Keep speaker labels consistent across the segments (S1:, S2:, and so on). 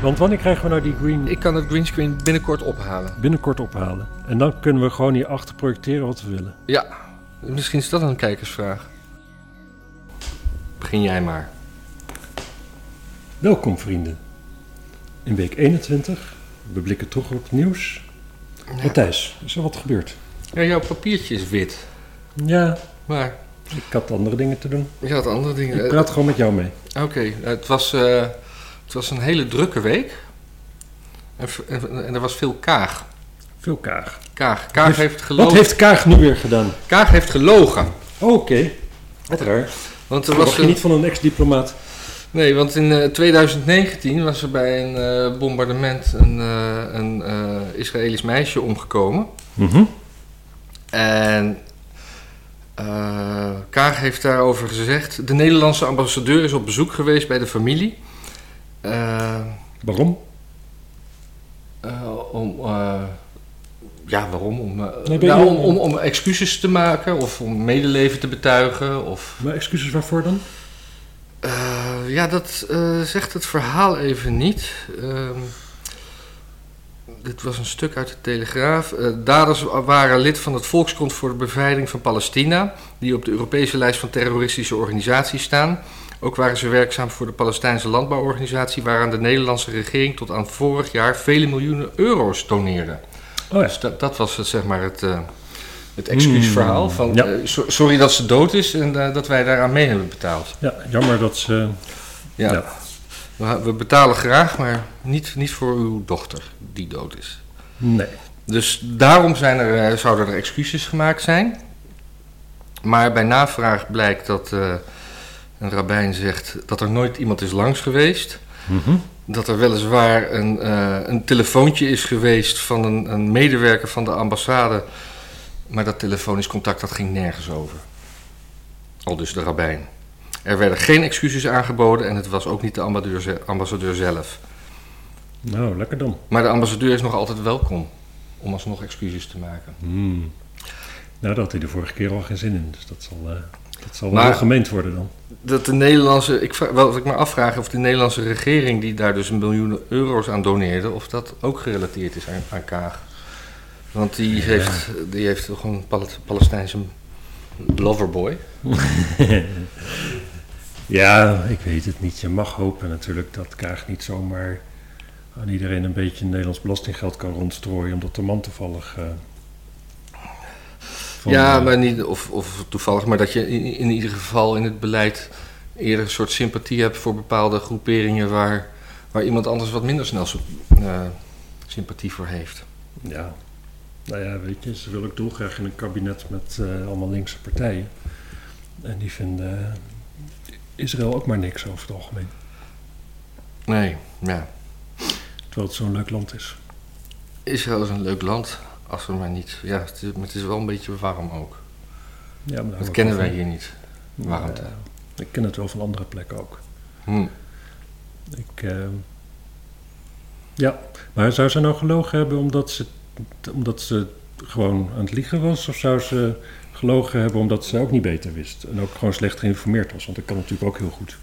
S1: Want wanneer krijgen we nou die green
S2: Ik kan het greenscreen binnenkort ophalen.
S1: binnenkort ophalen? En dan kunnen we gewoon hierachter projecteren wat we willen.
S2: Ja, misschien is dat een kijkersvraag. Begin jij maar.
S1: Welkom vrienden. In week 21, we blikken terug op het nieuws. Matthijs, is er wat gebeurd?
S2: Ja, jouw papiertje is wit.
S1: Ja,
S2: Maar
S1: ik had andere dingen te doen.
S2: je had andere dingen.
S1: Ik praat gewoon met jou mee.
S2: Eh, Oké, het, was, eh, het was een hele drukke week. En, v- en, en er was veel kaag.
S1: Veel Kaag.
S2: Kaag, kaag
S1: Heeft-
S2: Dus heeft
S1: Wat
S2: gelogen.
S1: heeft Kaag nu weer gedaan?
S2: Kaag heeft gelogen.
S1: Oh, Oké, wat raar.
S2: Want er
S1: Dat
S2: was
S1: was je
S2: een-
S1: niet van een ex-diplomaat.
S2: Nee, want in eh, 2019 was er bij een eh, bombardement een, eh, een eh, Israëlisch meisje omgekomen.
S1: Mhm.
S2: En eh, Kaag heeft daarover gezegd... De Nederlandse ambassadeur is op bezoek geweest bij de familie. Eh,
S1: Waarom?
S2: eh, om... eh, ja, waarom? Om, eh,
S1: Nee, ben
S2: nou,
S1: je-
S2: om, om, om excuses te maken of om medeleven te betuigen. Of,
S1: Maar excuses waarvoor dan?
S2: Eh, ja, dat eh, zegt het verhaal even niet. Ehm, dit was een stuk uit de Telegraaf. Eh, daders waren lid van het Volksfront voor de Bevrijding van Palestina, die op de Europese lijst van terroristische organisaties staan. Ook waren ze werkzaam voor de Palestijnse landbouworganisatie, waaraan de Nederlandse regering tot aan vorig jaar vele miljoenen euro's doneerde.
S1: Oh ja.
S2: Dus dat, dat was het, zeg maar het, eh, het excuusverhaal. Van,
S1: ja.
S2: eh, so- sorry dat ze dood is en eh, dat wij daaraan mee hebben betaald.
S1: ja, jammer dat ze...
S2: Ja.
S1: Ja.
S2: We, we betalen graag, maar niet, niet voor uw dochter die dood is.
S1: Nee.
S2: Dus daarom zijn er, eh, zouden er excuses gemaakt zijn. Maar bij navraag blijkt dat eh, een rabbijn zegt dat er nooit iemand is langs geweest.
S1: Mhm.
S2: Dat er weliswaar een, eh, een telefoontje is geweest van een, een medewerker van de ambassade. Maar dat telefonisch contact dat ging nergens over. Al dus de rabbijn. Er werden geen excuses aangeboden en het was ook niet de ambassadeur, ze- ambassadeur zelf.
S1: Nou, lekker dan.
S2: Maar de ambassadeur is nog altijd welkom om alsnog excuses te maken.
S1: Hmm. Nou, daar had hij de vorige keer al geen zin in. Dus dat zal, eh, dat zal wel
S2: Maar-
S1: heel gemeend worden dan.
S2: Dat de Nederlandse, ik, vra- wel, wat ik me afvraag of de Nederlandse regering die daar dus een miljoen euro's aan doneerde, of dat ook gerelateerd is aan, aan Kaag. Want die, heeft, die heeft toch een Pal- Palestijnse loverboy.
S1: Ja, ik weet het niet. Je mag hopen natuurlijk dat Kaag niet zomaar aan iedereen een beetje Nederlands belastinggeld kan rondstrooien. Omdat de man toevallig. eh, van,
S2: ja,
S1: eh,
S2: maar niet, of, of toevallig, maar dat je in, in ieder geval in het beleid eerder een soort sympathie hebt voor bepaalde groeperingen waar, waar iemand anders wat minder snel zo- eh, sympathie voor heeft.
S1: Ja. Nou ja, weet je, ze wil ook dolgraag in een kabinet met eh, allemaal linkse partijen. En die vinden eh, Israël ook maar niks over het algemeen.
S2: Nee, ja.
S1: Terwijl het zo'n leuk land is.
S2: Israël is een leuk land, als we maar niet. Ja, het is, maar het is wel een beetje warm ook.
S1: Ja, maar daar
S2: Dat
S1: ook
S2: kennen
S1: wel
S2: wij
S1: van.
S2: hier niet. Warmte.
S1: Ja, ik ken het wel van andere plekken ook.
S2: Hm.
S1: Ik, eh, ja, maar zou ze nou gelogen hebben omdat ze, omdat ze gewoon aan het liegen was? Of zou ze gelogen hebben omdat ze nou ook niet beter wist? En ook gewoon slecht geïnformeerd was? Want dat kan natuurlijk ook heel goed.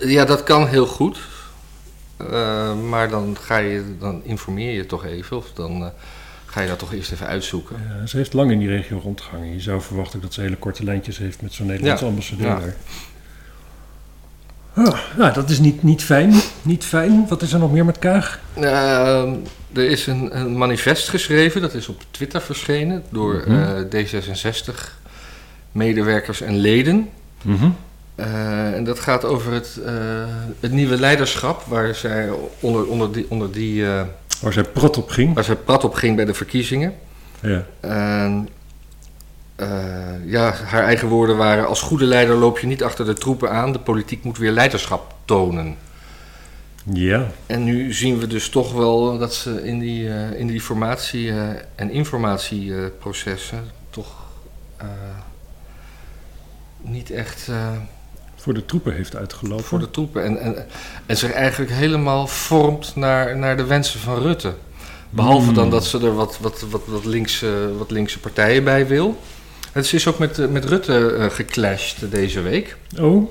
S2: Ja, dat kan heel goed. Eh, maar dan, ga je, dan informeer je toch even, of dan eh, ga je dat toch eerst even uitzoeken.
S1: Eh, ze heeft lang in die regio rondgehangen. Je zou verwachten dat ze hele korte lijntjes heeft met zo'n Nederlandse
S2: Ja,
S1: ambassadeur
S2: ja.
S1: daar. Ah, nou, dat is niet, niet fijn. Niet fijn. Wat is er nog meer met Kaag?
S2: Eh, er is een, een manifest geschreven, dat is op Twitter verschenen door
S1: Mhm.
S2: eh, D66 medewerkers en leden. Mhm. Eh, en dat gaat over het, eh, het nieuwe leiderschap, waar zij onder, onder die, onder die eh,
S1: Waar Oh, zij prot op ging.
S2: waar zij prat op ging bij de verkiezingen.
S1: Ja.
S2: En, eh, ja, haar eigen woorden waren: Als goede leider loop je niet achter de troepen aan, de politiek moet weer leiderschap tonen.
S1: ja.
S2: En nu zien we dus toch wel dat ze in die, eh, in die formatie- eh, en informatieprocessen toch eh, niet echt. eh,
S1: Voor de troepen heeft uitgelopen.
S2: voor de troepen. En, en, en zich eigenlijk helemaal vormt naar, naar de wensen van Rutte. Behalve
S1: Hmm.
S2: dan dat ze er wat, wat, wat, wat, linkse, wat linkse partijen bij wil. En ze is ook met, eh, met Rutte eh, geclashed eh, deze week.
S1: Oh.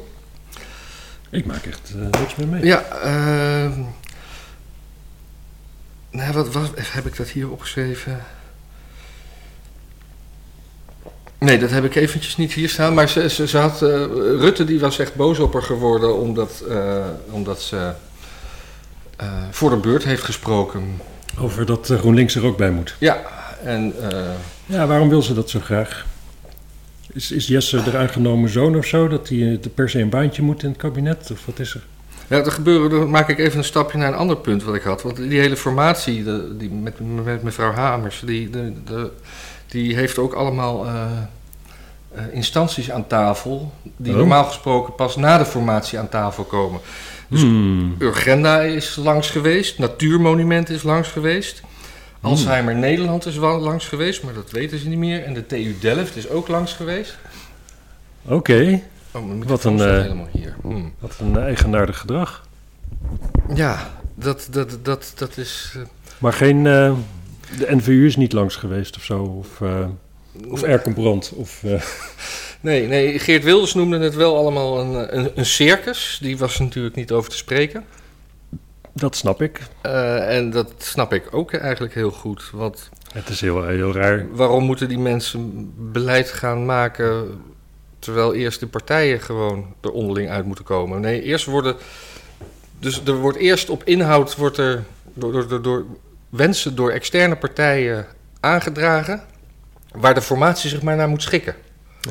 S1: Ik maak echt eh, niks meer mee.
S2: Ja, eh, ehm, Nou, wat, wat heb ik dat hier opgeschreven? Nee, dat heb ik eventjes niet hier staan. Maar ze, ze, ze had, eh, Rutte die was echt boos op haar geworden omdat, eh, omdat ze eh, voor de beurt heeft gesproken.
S1: Over dat eh, GroenLinks er ook bij moet.
S2: Ja, en eh,
S1: Ja, waarom wil ze dat zo graag? Is, is Jesse de aangenomen zoon of zo? Dat hij eh, per se een baantje moet in het kabinet? Of wat is er?
S2: ja, er gebeuren, dan maak ik even een stapje naar een ander punt wat ik had. Want die hele formatie de- die met, met mevrouw Hamers, die, de, de- die heeft ook allemaal eh, eh, instanties aan tafel... die
S1: Oh.
S2: normaal gesproken pas na de formatie aan tafel komen. Dus-
S1: Hmm.
S2: Urgenda is langs geweest, Natuurmonument is langs geweest.
S1: Hmm.
S2: Alzheimer Nederland is wel langs geweest, maar dat weten ze niet meer. En de TU Delft is ook langs geweest.
S1: Oké,
S2: Oh, mijn
S1: Wat
S2: microfoon
S1: een,
S2: staat
S1: eh,
S2: helemaal hier. Hmm.
S1: wat een eigenaardig gedrag.
S2: Ja, dat, dat, dat, dat is... eh,
S1: Maar geen, eh, de NVU is niet langs geweest of zo? Of, eh of Erken Brand? Of, eh,
S2: Nee, nee, Geert Wilders noemde het wel allemaal een, eh, een, een circus. Die was er natuurlijk niet over te spreken.
S1: dat snap ik.
S2: Eh, en dat snap ik ook eigenlijk heel goed. Want
S1: Het is heel, heel raar.
S2: Waarom moeten die mensen beleid gaan maken terwijl eerst de partijen gewoon er onderling uit moeten komen? Nee, eerst worden. Dus er wordt eerst op inhoud wordt er door, door, door, door wensen door externe partijen aangedragen. Waar de formatie zich maar naar moet schikken.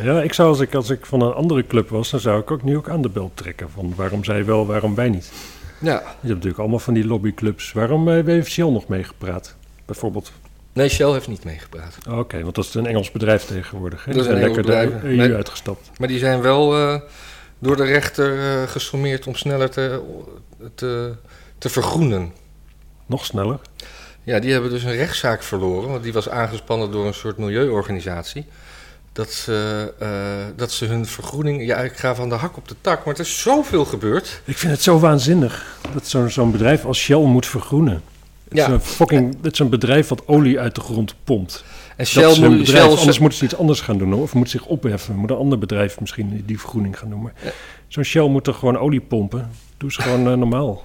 S1: Ja, ik zou als ik, als ik van een andere club was, dan zou ik ook nu ook aan de bel trekken. Van waarom zij wel, waarom wij niet.
S2: Ja.
S1: Je hebt natuurlijk allemaal van die lobbyclubs. Waarom eh, heeft Shell nog meegepraat? Bijvoorbeeld.
S2: Nee, Shell heeft niet meegepraat.
S1: Oké, want dat is een Engels bedrijf tegenwoordig. Hè?
S2: Dat is
S1: Die
S2: een
S1: zijn
S2: Engels
S1: lekker de
S2: bedrijf.
S1: EU
S2: Nee.
S1: uitgestapt.
S2: Maar die zijn wel eh, door de rechter eh, gesommeerd om sneller te, te, te vergroenen.
S1: Nog sneller.
S2: Ja, die hebben dus een rechtszaak verloren, want die was aangespannen door een soort milieuorganisatie. Dat ze, eh, dat ze hun vergroening, ja, ik ga van de hak op de tak, maar er is zoveel gebeurd.
S1: Ik vind het zo waanzinnig dat zo'n zo'n bedrijf als Shell moet vergroenen. Het,
S2: Ja.
S1: is een fucking, het is een bedrijf wat olie uit de grond pompt.
S2: En
S1: dat is
S2: Shell,
S1: een
S2: moet-
S1: bedrijf,
S2: Shell,
S1: anders moet ze iets anders gaan doen. hoor. Of moet zich opheffen. Moet een ander bedrijf misschien die vergroening gaan doen. Maar zo'n Shell moet er gewoon olie pompen. Doe eens gewoon eh, normaal.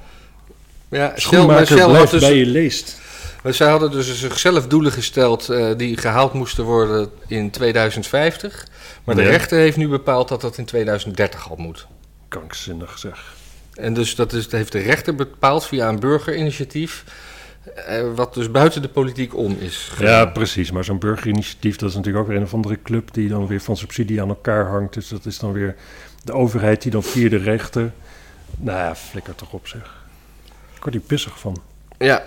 S2: ja, Shell, maar
S1: Schoenmaker
S2: Shell had
S1: blijft
S2: dus,
S1: bij je leest.
S2: maar zij hadden dus zichzelf doelen gesteld eh, die gehaald moesten worden in 2050. Maar de
S1: Ja.
S2: rechter heeft nu bepaald dat dat in 2030 al moet.
S1: Kankzinnig zeg.
S2: En dus dat, is, dat heeft de rechter bepaald via een burgerinitiatief, eh, wat dus buiten de politiek om is.
S1: Ja, precies. Maar zo'n burgerinitiatief, dat is natuurlijk ook weer een of andere club die dan weer van subsidie aan elkaar hangt. Dus dat is dan weer de overheid die dan via de rechter. Nou ja, flikker toch op zeg. Ik word hier pissig van.
S2: Ja,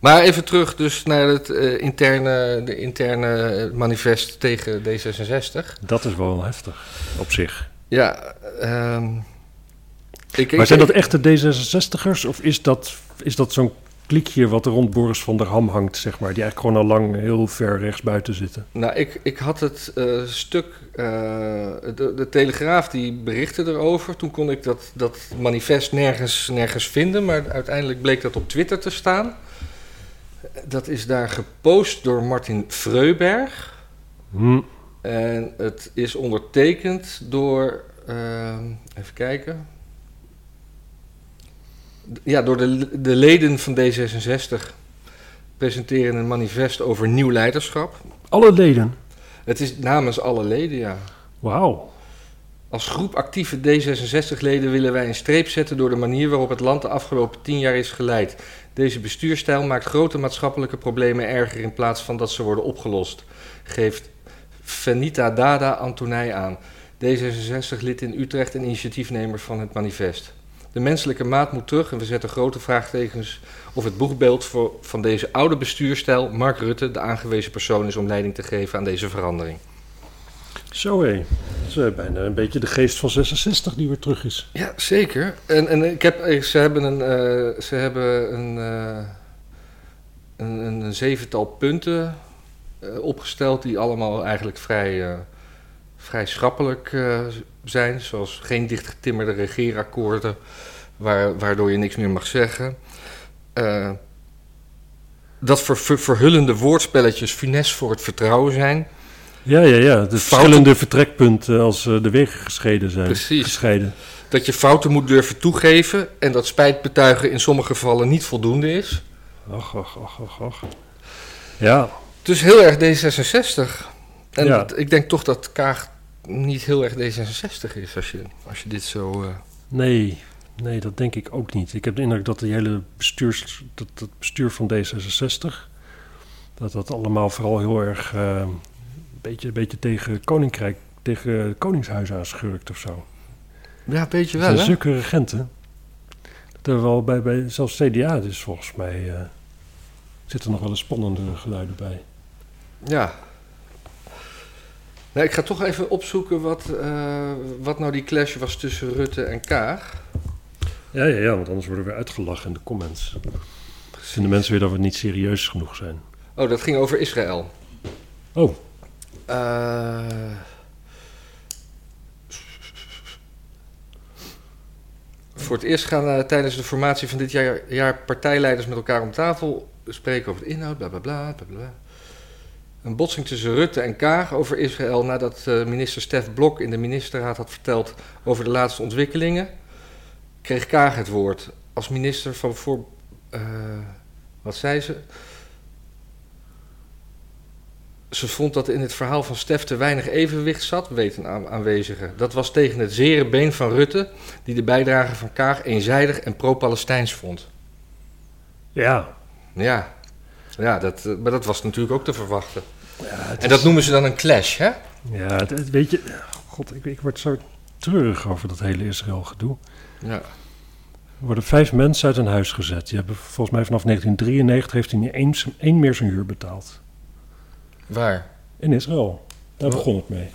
S2: maar even terug dus naar het eh, interne, de interne manifest tegen D66.
S1: Dat is wel heftig op zich.
S2: Ja, ehm, ik,
S1: Maar zijn dat echte D66ers of is dat, is dat zo'n klikje wat er rond Boris van der Ham hangt, zeg maar? Die eigenlijk gewoon al lang heel ver rechts buiten zitten.
S2: Nou, ik, ik had het eh, stuk, eh, de, de Telegraaf die berichtte erover. Toen kon ik dat, dat manifest nergens, nergens vinden, maar uiteindelijk bleek dat op Twitter te staan. Dat is daar gepost door Martin Freuberg.
S1: Hm.
S2: En het is ondertekend door. ehm, even kijken. D- Ja, door de, de leden van D66 presenteren een manifest over nieuw leiderschap.
S1: Alle leden.
S2: Het is namens alle leden, ja.
S1: Wauw.
S2: Als groep actieve D66-leden willen wij een streep zetten door de manier waarop het land de afgelopen tien jaar is geleid. Deze bestuurstijl maakt grote maatschappelijke problemen erger in plaats van dat ze worden opgelost, geeft Venita Dada Antonij aan, D66-lid in Utrecht en initiatiefnemer van het manifest. De menselijke maat moet terug en we zetten grote vraagtekens of het boegbeeld voor, van deze oude bestuurstijl, Mark Rutte, de aangewezen persoon is om leiding te geven aan deze verandering.
S1: Zo hé. Dat is eh, bijna een beetje de geest van 66 die weer terug is.
S2: Ja, zeker. En, en ik heb, eh, ze hebben een, eh, ze hebben een, eh, een, een, een zevental punten eh, opgesteld die allemaal eigenlijk vrij, eh, vrij schappelijk eh, zijn. Zoals geen dichtgetimmerde regeerakkoorden, waar, waardoor je niks meer mag zeggen. Eh, dat ver, ver- verhullende woordspelletjes finesse voor het vertrouwen zijn.
S1: Ja, ja, ja. De verschillende
S2: verschillende
S1: vertrekpunten als eh, de wegen gescheiden zijn.
S2: Precies.
S1: Gescheiden.
S2: Dat je fouten moet durven toegeven en dat spijt betuigen in sommige gevallen niet voldoende is.
S1: Och, och, och, och, och. Ja,
S2: Dus heel erg D66. En
S1: Ja.
S2: dat- ik denk toch dat Kaag niet heel erg D66 is als je, als je dit zo... eh,
S1: nee. Nee, dat denk ik ook niet. Ik heb de indruk dat de hele bestuurs, dat, dat bestuur van D66... dat dat allemaal vooral heel erg... eh, een, beetje, een beetje tegen Koninkrijk, tegen Koningshuis aanschurkt of zo.
S2: Ja, een beetje
S1: Het
S2: wel,
S1: zijn
S2: hè?
S1: zulke regenten. Dat er wel bij, bij zelfs CDA dus volgens mij... eh, zitten nog wel eens spannende geluiden bij.
S2: Ja. Nee, ik ga toch even opzoeken wat, eh, wat nou die clash was tussen Rutte en Kaag.
S1: Ja, ja, ja, want anders worden we weer uitgelachen in de comments. Vinden mensen weer dat we niet serieus genoeg zijn.
S2: Oh, dat ging over Israël.
S1: Oh.
S2: Eh, voor het eerst gaan eh, tijdens de formatie van dit jaar, jaar partijleiders met elkaar om tafel spreken over de inhoud, bla bla bla. bla, bla. Een botsing tussen Rutte en Kaag over Israël nadat eh, minister Stef Blok in de ministerraad had verteld over de laatste ontwikkelingen, kreeg Kaag het woord. Als minister van voor. eh, wat zei ze? Ze vond dat in het verhaal van Stef te weinig evenwicht zat, weet een aan- aanwezige. Dat was tegen het zere been van Rutte, die de bijdrage van Kaag eenzijdig en pro-Palestijns vond.
S1: Ja.
S2: Ja, ja dat, eh, maar dat was natuurlijk ook te verwachten.
S1: ja het
S2: En dat
S1: is-
S2: noemen ze dan een clash, hè?
S1: Ja, het, het- weet je... God, ik, ik word zo treurig over dat hele Israël-gedoe.
S2: Ja.
S1: Er worden vijf mensen uit hun huis gezet. Die hebben volgens mij vanaf 1993 heeft hij niet eens één meer zijn huur betaald.
S2: Waar?
S1: In Israël. Daar
S2: Wat?
S1: begon het mee.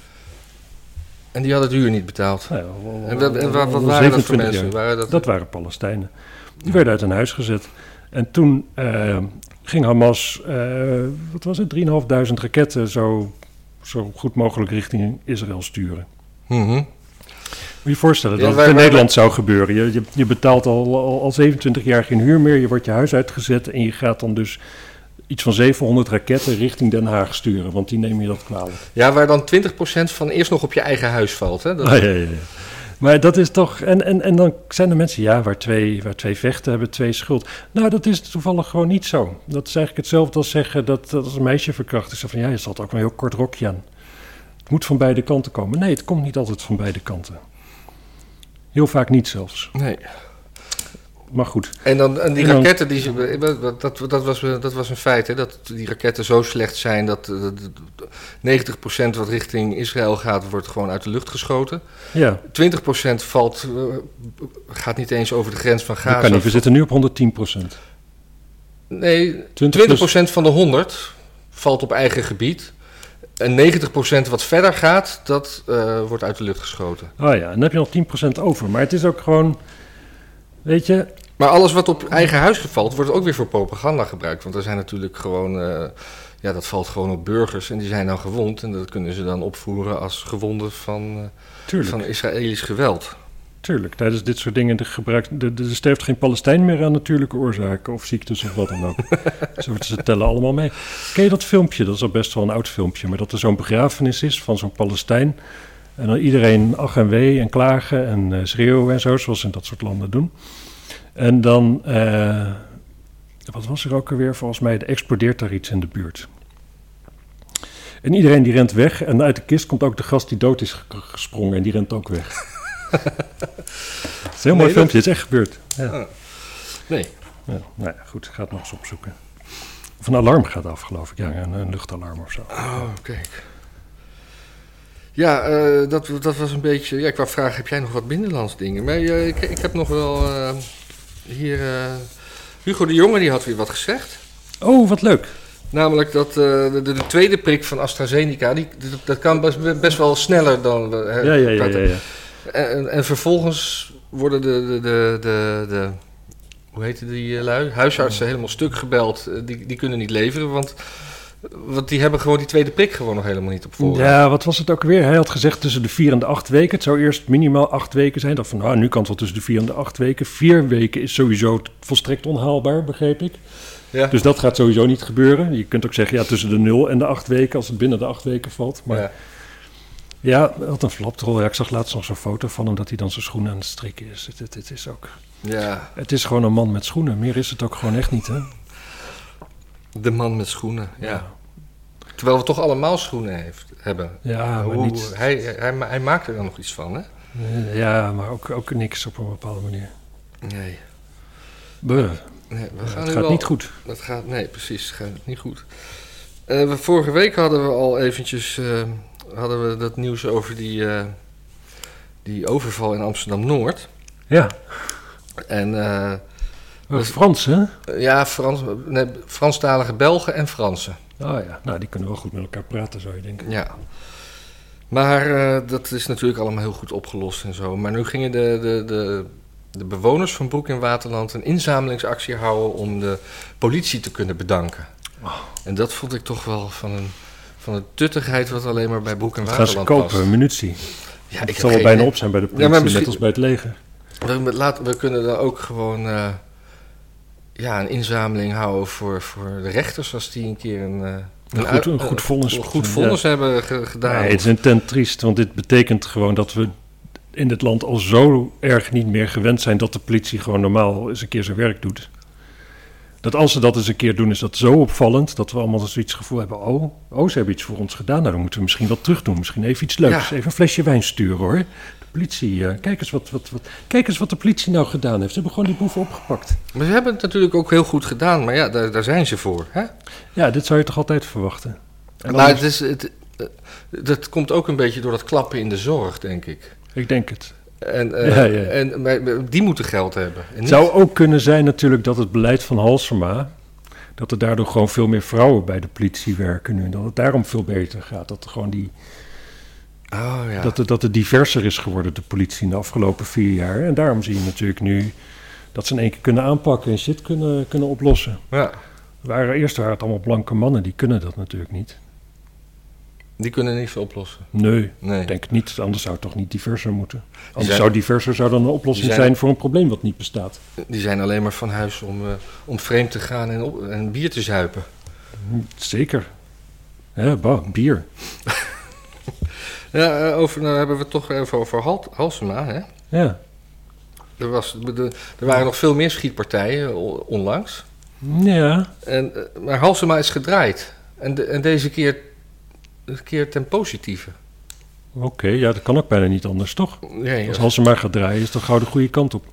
S2: En die hadden het huur niet betaald.
S1: Nou ja, wel- wel-
S2: En, wat- en
S1: wel-
S2: wat,
S1: wel
S2: wat waren dat voor
S1: 27
S2: mensen?
S1: jaar.
S2: Waren dat,
S1: Dat waren Palestijnen. Die werden uit hun huis gezet. En toen eh, ging Hamas, eh, wat was het, 3.500 raketten zo, zo goed mogelijk richting Israël sturen.
S2: Mhm.
S1: Moet je je voorstellen dat
S2: Ja,
S1: het
S2: wij-
S1: in
S2: wij-
S1: Nederland zou gebeuren. Je, je, je betaalt al, al, al 27 jaar geen huur meer, je wordt je huis uitgezet en je gaat dan dus iets van 700 raketten richting Den Haag sturen, want die nemen je dat kwalijk.
S2: Ja, waar dan 20% van eerst nog op je eigen huis valt, hè? Dat-
S1: Ah, ja, ja, ja. Maar dat is toch. En, en, en dan zijn er mensen, ja, waar twee, waar twee vechten hebben, twee schuld. Nou, dat is toevallig gewoon niet zo. Dat is eigenlijk hetzelfde als zeggen dat, dat als een meisje verkracht is, zo van ja, je zat ook wel een heel kort rokje aan. Het moet van beide kanten komen. Nee, het komt niet altijd van beide kanten. Heel vaak niet zelfs.
S2: Nee.
S1: Maar goed.
S2: En dan en die
S1: En dan-
S2: raketten, die ze, dat, dat, dat was, dat was een feit, hè, dat die raketten zo slecht zijn dat, eh, dat- dat 90% wat richting Israël gaat, wordt gewoon uit de lucht geschoten.
S1: Ja,
S2: 20% valt, eh, gaat niet eens over de grens van
S1: dat kan
S2: Gaza.
S1: niet. We zitten nu op 110 procent.
S2: Nee,
S1: 20 plus-
S2: 20% van de 100 valt op eigen gebied. En 90% wat verder gaat, dat eh, wordt uit de lucht geschoten.
S1: Ah ja, en dan heb je nog 10 procent over. Maar het is ook gewoon. Weet je,
S2: Maar alles wat op eigen huis valt, wordt ook weer voor propaganda gebruikt. Want er zijn natuurlijk gewoon, eh, ja, dat valt gewoon op burgers en die zijn dan gewond. En dat kunnen ze dan opvoeren als gewonden van, eh,
S1: tuurlijk.
S2: van Israëlisch geweld.
S1: Tuurlijk, tijdens dit soort dingen de gebruik, de, de, er sterft geen Palestijn meer aan natuurlijke oorzaken of ziektes of wat dan ook. Zo, ze tellen allemaal mee. Ken je dat filmpje? Dat is al best wel een oud filmpje, maar dat er zo'n begrafenis is van zo'n Palestijn. En dan iedereen ach en wee en klagen en eh, schreeuwen en zo, zoals ze in dat soort landen doen. En dan, eh, wat was er ook alweer? Volgens mij er explodeert daar iets in de buurt. En iedereen die rent weg. En uit de kist komt ook de gast die dood is ge- gesprongen. En die rent ook weg. Het is een heel mooi
S2: Nee, dat-
S1: filmpje. Het is echt gebeurd. Ja.
S2: Nee.
S1: Ja, nou ja, goed. Ik ga het nog eens opzoeken. Of een alarm gaat af, geloof ik. Ja, een, een luchtalarm of zo.
S2: Oh, kijk. Ja, eh, dat, dat was een beetje... Ja, qua vraag, heb jij nog wat binnenlands dingen? Maar eh, ik, ik heb nog wel eh, hier... eh, Hugo de Jonge die had weer wat gezegd.
S1: Oh, wat leuk.
S2: Namelijk dat eh, de, de tweede prik van AstraZeneca, die, dat- dat kan best, best wel sneller dan... we, hè,
S1: Ja, ja, ja. ja,
S2: praten.
S1: ja.
S2: En, en vervolgens worden de, de, de, de, de hoe heette die eh, lui? Huisartsen helemaal stuk gebeld. Eh, Die, die kunnen niet leveren, want, want die hebben gewoon die tweede prik gewoon nog helemaal niet op voorraad.
S1: Ja, wat was het ook weer? Hij had gezegd tussen de vier en de acht weken. Het zou eerst minimaal acht weken zijn. Dat van, nou, nu kan het wel tussen de vier en de acht weken. Vier weken is sowieso t- volstrekt onhaalbaar, begreep ik.
S2: Ja.
S1: Dus dat gaat sowieso niet gebeuren. Je kunt ook zeggen, ja, tussen de nul en de acht weken, als het binnen de acht weken valt. Maar ja,
S2: Ja.
S1: wat een flapdrol. Ja, ik zag laatst nog zo'n foto van hem dat hij dan zijn schoenen aan het strikken is. Het, het, het is ook...
S2: ja.
S1: Het is gewoon een man met schoenen. Meer is het ook gewoon echt niet, hè?
S2: De man met schoenen, ja. Terwijl we toch allemaal schoenen heeft, hebben.
S1: Ja, maar
S2: Hoe-
S1: niet,
S2: hij, hij, ma- hij maakt er dan nog iets van, hè?
S1: eh, ja, maar ook, ook niks op een bepaalde manier.
S2: Nee.
S1: Buh,
S2: nee we gaan
S1: het
S2: nu
S1: gaat
S2: wel-
S1: niet goed.
S2: Dat gaat, nee, precies. Het gaat niet goed. Eh, we- vorige week hadden we al eventjes eh, hadden we dat nieuws over die, eh, die overval in Amsterdam-Noord.
S1: Ja,
S2: En eh,
S1: eh, Frans,
S2: Oh,
S1: hè?
S2: ja, Frans, nee, Franstalige Belgen en Fransen.
S1: Oh ja, nou die kunnen wel goed met elkaar praten, zou je denken.
S2: Ja. Maar eh, dat is natuurlijk allemaal heel goed opgelost en zo. Maar nu gingen de, de, de, de bewoners van Broek in Waterland een inzamelingsactie houden om de politie te kunnen bedanken.
S1: Oh.
S2: En dat vond ik toch wel van een, van een tuttigheid wat alleen maar bij Broek in
S1: Wat gaan ze
S2: Waterland
S1: kopen?
S2: past.
S1: Munitie.
S2: Ja,
S1: het
S2: ik
S1: zal wel
S2: heb geen
S1: bijna op zijn bij de politie,
S2: misschien-
S1: net als bij het leger.
S2: idee. We, laten, we kunnen dan ook gewoon eh, ja, een inzameling houden voor, voor de rechters als die een keer een, eh,
S1: Een
S2: uit-
S1: goed, een goed vonnis.
S2: een goed vonnis hebben ge- gedaan.
S1: Nee, het is intent triest, want dit betekent gewoon dat we in dit land al zo erg niet meer gewend zijn dat de politie gewoon normaal eens een keer zijn werk doet. Dat als ze dat eens een keer doen, is dat zo opvallend dat we allemaal zoiets gevoel hebben: oh, oh, ze hebben iets voor ons gedaan. Nou, dan moeten we misschien wat terug doen. Misschien even iets leuks.
S2: Ja.
S1: Even een flesje wijn sturen hoor. De politie, eh, kijk, eens wat, wat, wat, kijk eens wat de politie nou gedaan heeft. Ze hebben gewoon die boeven opgepakt.
S2: Maar ze hebben het natuurlijk ook heel goed gedaan, maar ja, daar, daar zijn ze voor. Hè?
S1: Ja, dit zou je toch altijd verwachten? En
S2: Maar
S1: anders-
S2: het is, het, eh, dat komt ook een beetje door dat klappen in de zorg, denk ik.
S1: ik denk het.
S2: En, eh,
S1: Ja, ja.
S2: en maar- maar die moeten geld hebben. En
S1: Het
S2: niet-
S1: zou ook kunnen zijn natuurlijk dat het beleid van Halsema... dat er daardoor gewoon veel meer vrouwen bij de politie werken nu... en dat het daarom veel beter gaat. Dat, er gewoon die,
S2: Oh, ja.
S1: dat, het, dat het diverser is geworden, de politie, in de afgelopen vier jaar. En daarom zie je natuurlijk nu dat ze in één keer kunnen aanpakken... en shit kunnen, kunnen oplossen.
S2: ja,
S1: Waren, eerst waren het allemaal blanke mannen, die kunnen dat natuurlijk niet.
S2: die kunnen niks oplossen.
S1: Nee,
S2: Nee.
S1: ik denk het niet. Anders zou het toch niet diverser moeten. Anders
S2: zijn-
S1: zou diverser zou dan een oplossing
S2: die zijn-
S1: zijn voor een probleem wat niet bestaat.
S2: Die zijn alleen maar van huis om, eh, om vreemd te gaan en, op, en bier te zuipen.
S1: Zeker. Hè, bah, bier.
S2: Ja, eh, over, nou hebben we het toch even over Hal- Halsema. Hè?
S1: Ja.
S2: Er, was, de- er waren nog veel meer schietpartijen on- onlangs.
S1: Ja,
S2: En, eh, maar Halsema is gedraaid. En, de- en deze keer, keer ten positieve.
S1: Oké, ja, dat kan ook bijna niet anders, toch?
S2: Nee,
S1: Als Halsema gaat draaien, is dat gauw de goede kant op.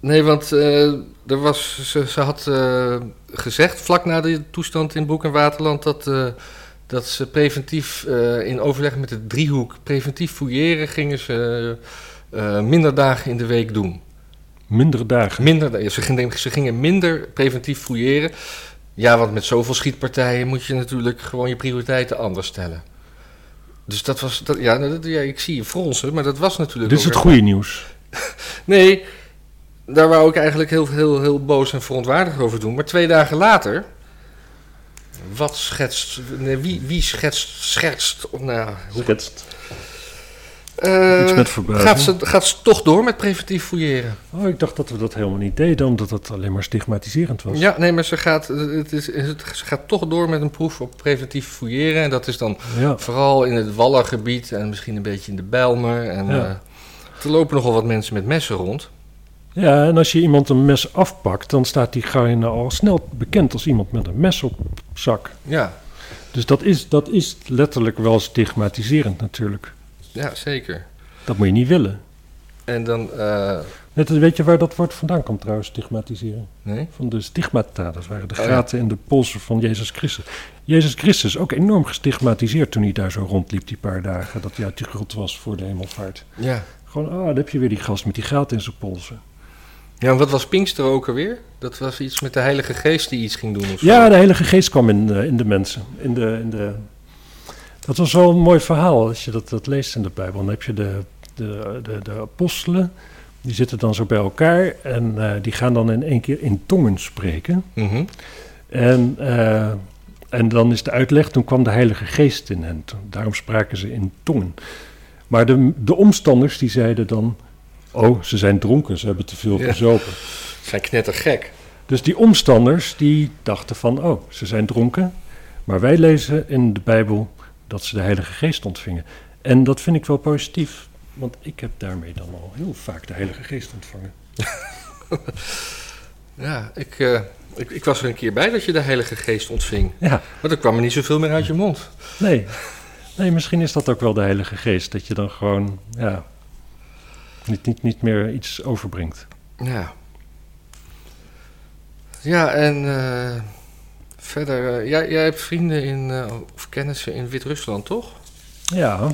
S2: nee want eh, er was, ze, ze had eh, gezegd, vlak na de toestand in Broek en Waterland, dat, eh, dat ze preventief eh, in overleg met de driehoek, preventief fouilleren, gingen ze eh, minder dagen in de week doen.
S1: Minder dagen.
S2: Minder, da- ja, ze, gingen, ze gingen minder preventief fouilleren. Ja, want met zoveel schietpartijen moet je natuurlijk gewoon je prioriteiten anders stellen. Dus dat was, dat, ja, dat, ja, ik zie je fronsen, maar dat was natuurlijk
S1: Dit is
S2: ook
S1: Dus het
S2: weer-
S1: goede nieuws.
S2: Nee, daar wou ik eigenlijk heel, heel, heel boos en verontwaardigd over doen. Maar twee dagen later. Wat schetst. Nee, wie, wie schetst. Schertst. Nou, hoe,
S1: Schetst.
S2: Eh,
S1: Iets met verbuiging.
S2: gaat, ze, gaat ze toch door met preventief fouilleren?
S1: Oh, ik dacht dat we dat helemaal niet deden, omdat dat alleen maar stigmatiserend was.
S2: Ja, nee, maar ze gaat, het is, het, ze gaat toch door met een proef op preventief fouilleren. En dat is dan
S1: Ja.
S2: vooral in het Wallergebied en misschien een beetje in de Bijlmer. En,
S1: Ja.
S2: eh, er lopen nogal wat mensen met messen rond.
S1: ja, en als je iemand een mes afpakt, dan staat die gaine al snel bekend als iemand met een mes op zak.
S2: Ja,
S1: Dus dat is, dat is letterlijk wel stigmatiserend natuurlijk.
S2: ja zeker.
S1: Dat moet je niet willen.
S2: En dan. eh,
S1: Net, weet je waar dat woord vandaan komt trouwens, stigmatiseren?
S2: nee?
S1: van de stigmata. Dat waren de
S2: Oh, ja.
S1: gaten in de polsen van Jezus Christus. Jezus Christus, ook enorm gestigmatiseerd toen hij daar zo rondliep die paar dagen. Dat hij uit die grot was voor de hemelvaart.
S2: Ja.
S1: Gewoon, ah, daar heb je weer die gast met die gaten in zijn polsen.
S2: Ja, en wat was Pinkster ook alweer? Dat was iets met de Heilige Geest die iets ging doen of zo.
S1: Ja, de Heilige Geest kwam in, eh, in de mensen. In de, in de... Dat was wel een mooi verhaal als je dat, dat leest in de Bijbel. Dan heb je de, de, de, de apostelen, die zitten dan zo bij elkaar. En eh, die gaan dan in één keer in tongen spreken.
S2: Mhm.
S1: En, eh, en dan is de uitleg, toen kwam de Heilige Geest in hen. Toen- Daarom spraken ze in tongen. Maar de, de omstanders die zeiden dan, oh, ze zijn dronken, ze hebben te veel
S2: Ja.
S1: gezopen.
S2: Zijn knettergek.
S1: Dus die omstanders die dachten van, oh, ze zijn dronken. Maar wij lezen in de Bijbel dat ze de Heilige Geest ontvingen. En dat vind ik wel positief, want ik heb daarmee dan al heel vaak de Heilige Geest ontvangen.
S2: Ja, ik, eh, Ik, ik was er een keer bij dat je de Heilige Geest ontving.
S1: Ja,
S2: Maar er kwam er niet zoveel meer uit je mond.
S1: nee. Nee, misschien is dat ook wel de Heilige Geest. Dat je dan gewoon, ja, niet, niet, niet meer iets overbrengt.
S2: Ja. Ja, en eh, verder. eh, jij, jij hebt vrienden in, eh, of kennissen in Wit-Rusland, toch?
S1: Ja,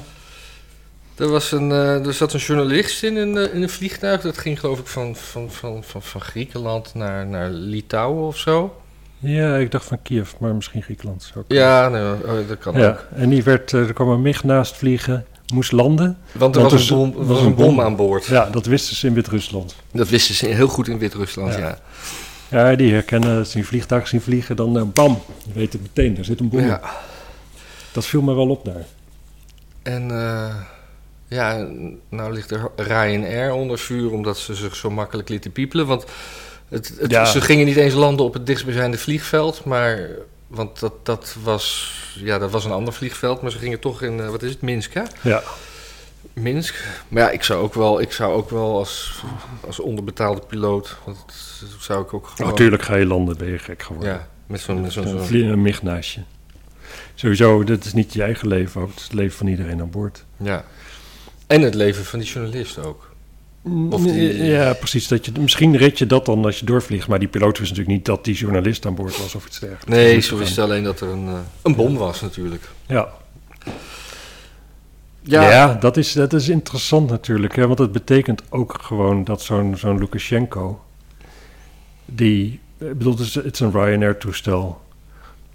S2: Er, was een, eh, er zat een journalist in, in, eh, in een vliegtuig. Dat ging, geloof ik, van, van, van, van, van Griekenland naar, naar Litouwen of zo.
S1: ja ik dacht van Kiev, maar misschien Griekenland. Zou ook-
S2: Ja, nou, eh, dat kan ook.
S1: ja. En die werd, eh, er kwam een MIG naast vliegen, moest landen.
S2: Want er
S1: Want
S2: was,
S1: er
S2: een bom,
S1: was
S2: was
S1: een
S2: een bom
S1: bom.
S2: aan boord.
S1: Ja, dat wisten ze in Wit-Rusland.
S2: Dat wisten ze heel goed in Wit-Rusland,
S1: Ja.
S2: ja.
S1: Ja, die herkennen, als ze een vliegtuig zien vliegen, dan eh, bam, je weet het meteen, daar zit een bom
S2: ja.
S1: in. Dat viel me wel op daar.
S2: En eh, ja, nou ligt er Ryanair onder vuur omdat ze zich zo makkelijk lieten piepelen. Want het, het-
S1: Ja.
S2: ze gingen niet eens landen op het dichtstbijzijnde vliegveld, maar... Want dat, dat, was, ja, dat was een ander vliegveld, maar ze gingen toch in, eh, wat is het, Minsk, hè?
S1: Ja,
S2: Minsk. Maar ja, ik zou ook wel, ik zou ook wel als, als onderbetaalde piloot, want dat zou ik ook gewoon...
S1: natuurlijk ga je landen, ben je gek geworden.
S2: Ja, met zo'n... met zo'n-
S1: Zo'n
S2: zo'n-
S1: vlie- een MIG naast je. Sowieso, dat is niet je eigen leven, ook, het is het leven van iedereen aan boord.
S2: ja. En het leven van die journalist ook. Of die-
S1: Mm, Ja, precies. Dat je, misschien red je dat dan als je doorvliegt, maar die piloot wist natuurlijk niet dat die journalist aan boord was of iets dergelijks.
S2: Nee,
S1: Dat
S2: zo
S1: moet
S2: is het
S1: gaan.
S2: alleen dat er een, eh, een bom was natuurlijk.
S1: Ja. Ja, dat, is, dat is interessant natuurlijk. Hè? Want het betekent ook gewoon dat zo'n zo'n Lukashenko... die... Ik bedoel, het is, het is een Ryanair-toestel.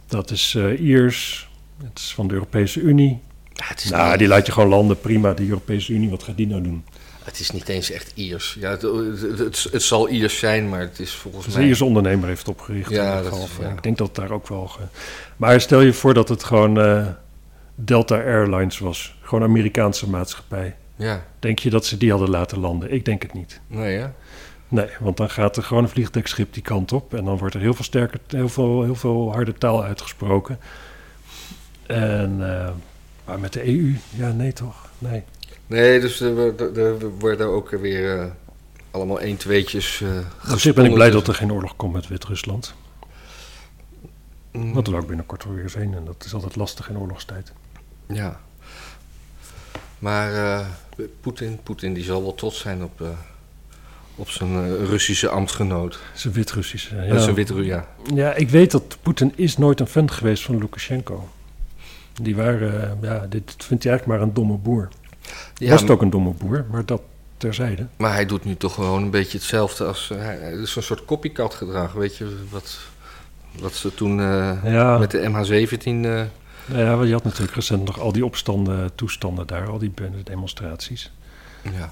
S1: Dat is eh, Iers. Het is van de Europese Unie.
S2: Ja, het, is
S1: Nou,
S2: niet,
S1: die laat je gewoon landen. Prima, de Europese Unie. Wat gaat die nou doen?
S2: het is niet eens echt Iers. Ja, het, het, het, het zal Iers zijn, maar het is volgens
S1: Dat is
S2: mij...
S1: een Ierse ondernemer heeft opgericht.
S2: Ja,
S1: in ieder
S2: dat
S1: geval.
S2: is- ja.
S1: Ik denk dat daar ook wel... ge- Maar stel je voor dat het gewoon eh, Delta Airlines was. Gewoon een Amerikaanse maatschappij.
S2: Ja,
S1: Denk je dat ze die hadden laten landen? Ik denk het niet.
S2: nee hè?
S1: Nee, want dan gaat er gewoon een vliegdekschip die kant op. En dan wordt er heel veel, sterker, heel veel, heel veel harde taal uitgesproken. En, eh, maar met de EU? Ja, nee toch? Nee.
S2: Nee, dus er, wo- er- er worden ook weer eh, allemaal 1 tweetjes eh
S1: Op zich ben ik blij dat er geen oorlog komt met Wit-Rusland.
S2: Mm,
S1: Want er ook binnenkort wel weer eens heen. En dat is altijd lastig in oorlogstijd.
S2: Ja. Maar eh, Poetin, Poetin die zal wel trots zijn op, eh, op zijn eh, Russische ambtgenoot.
S1: Het is een Wit-Russische.
S2: Ja. Dat is
S1: Ja.
S2: een wit ja.
S1: ja, ik weet dat Poetin is nooit een fan geweest van Lukashenko. Die waren, eh, ja, dit vindt hij eigenlijk maar een domme boer.
S2: Ja,
S1: Was het ook een domme boer, maar dat terzijde.
S2: Maar hij doet nu toch gewoon een beetje hetzelfde als... eh, hij- Het is een soort copycat gedrag, weet je, wat, wat ze toen eh,
S1: Ja.
S2: met de MH17... eh,
S1: Nou ja, want je had natuurlijk recent nog al die opstanden, toestanden daar, al die demonstraties.
S2: ja.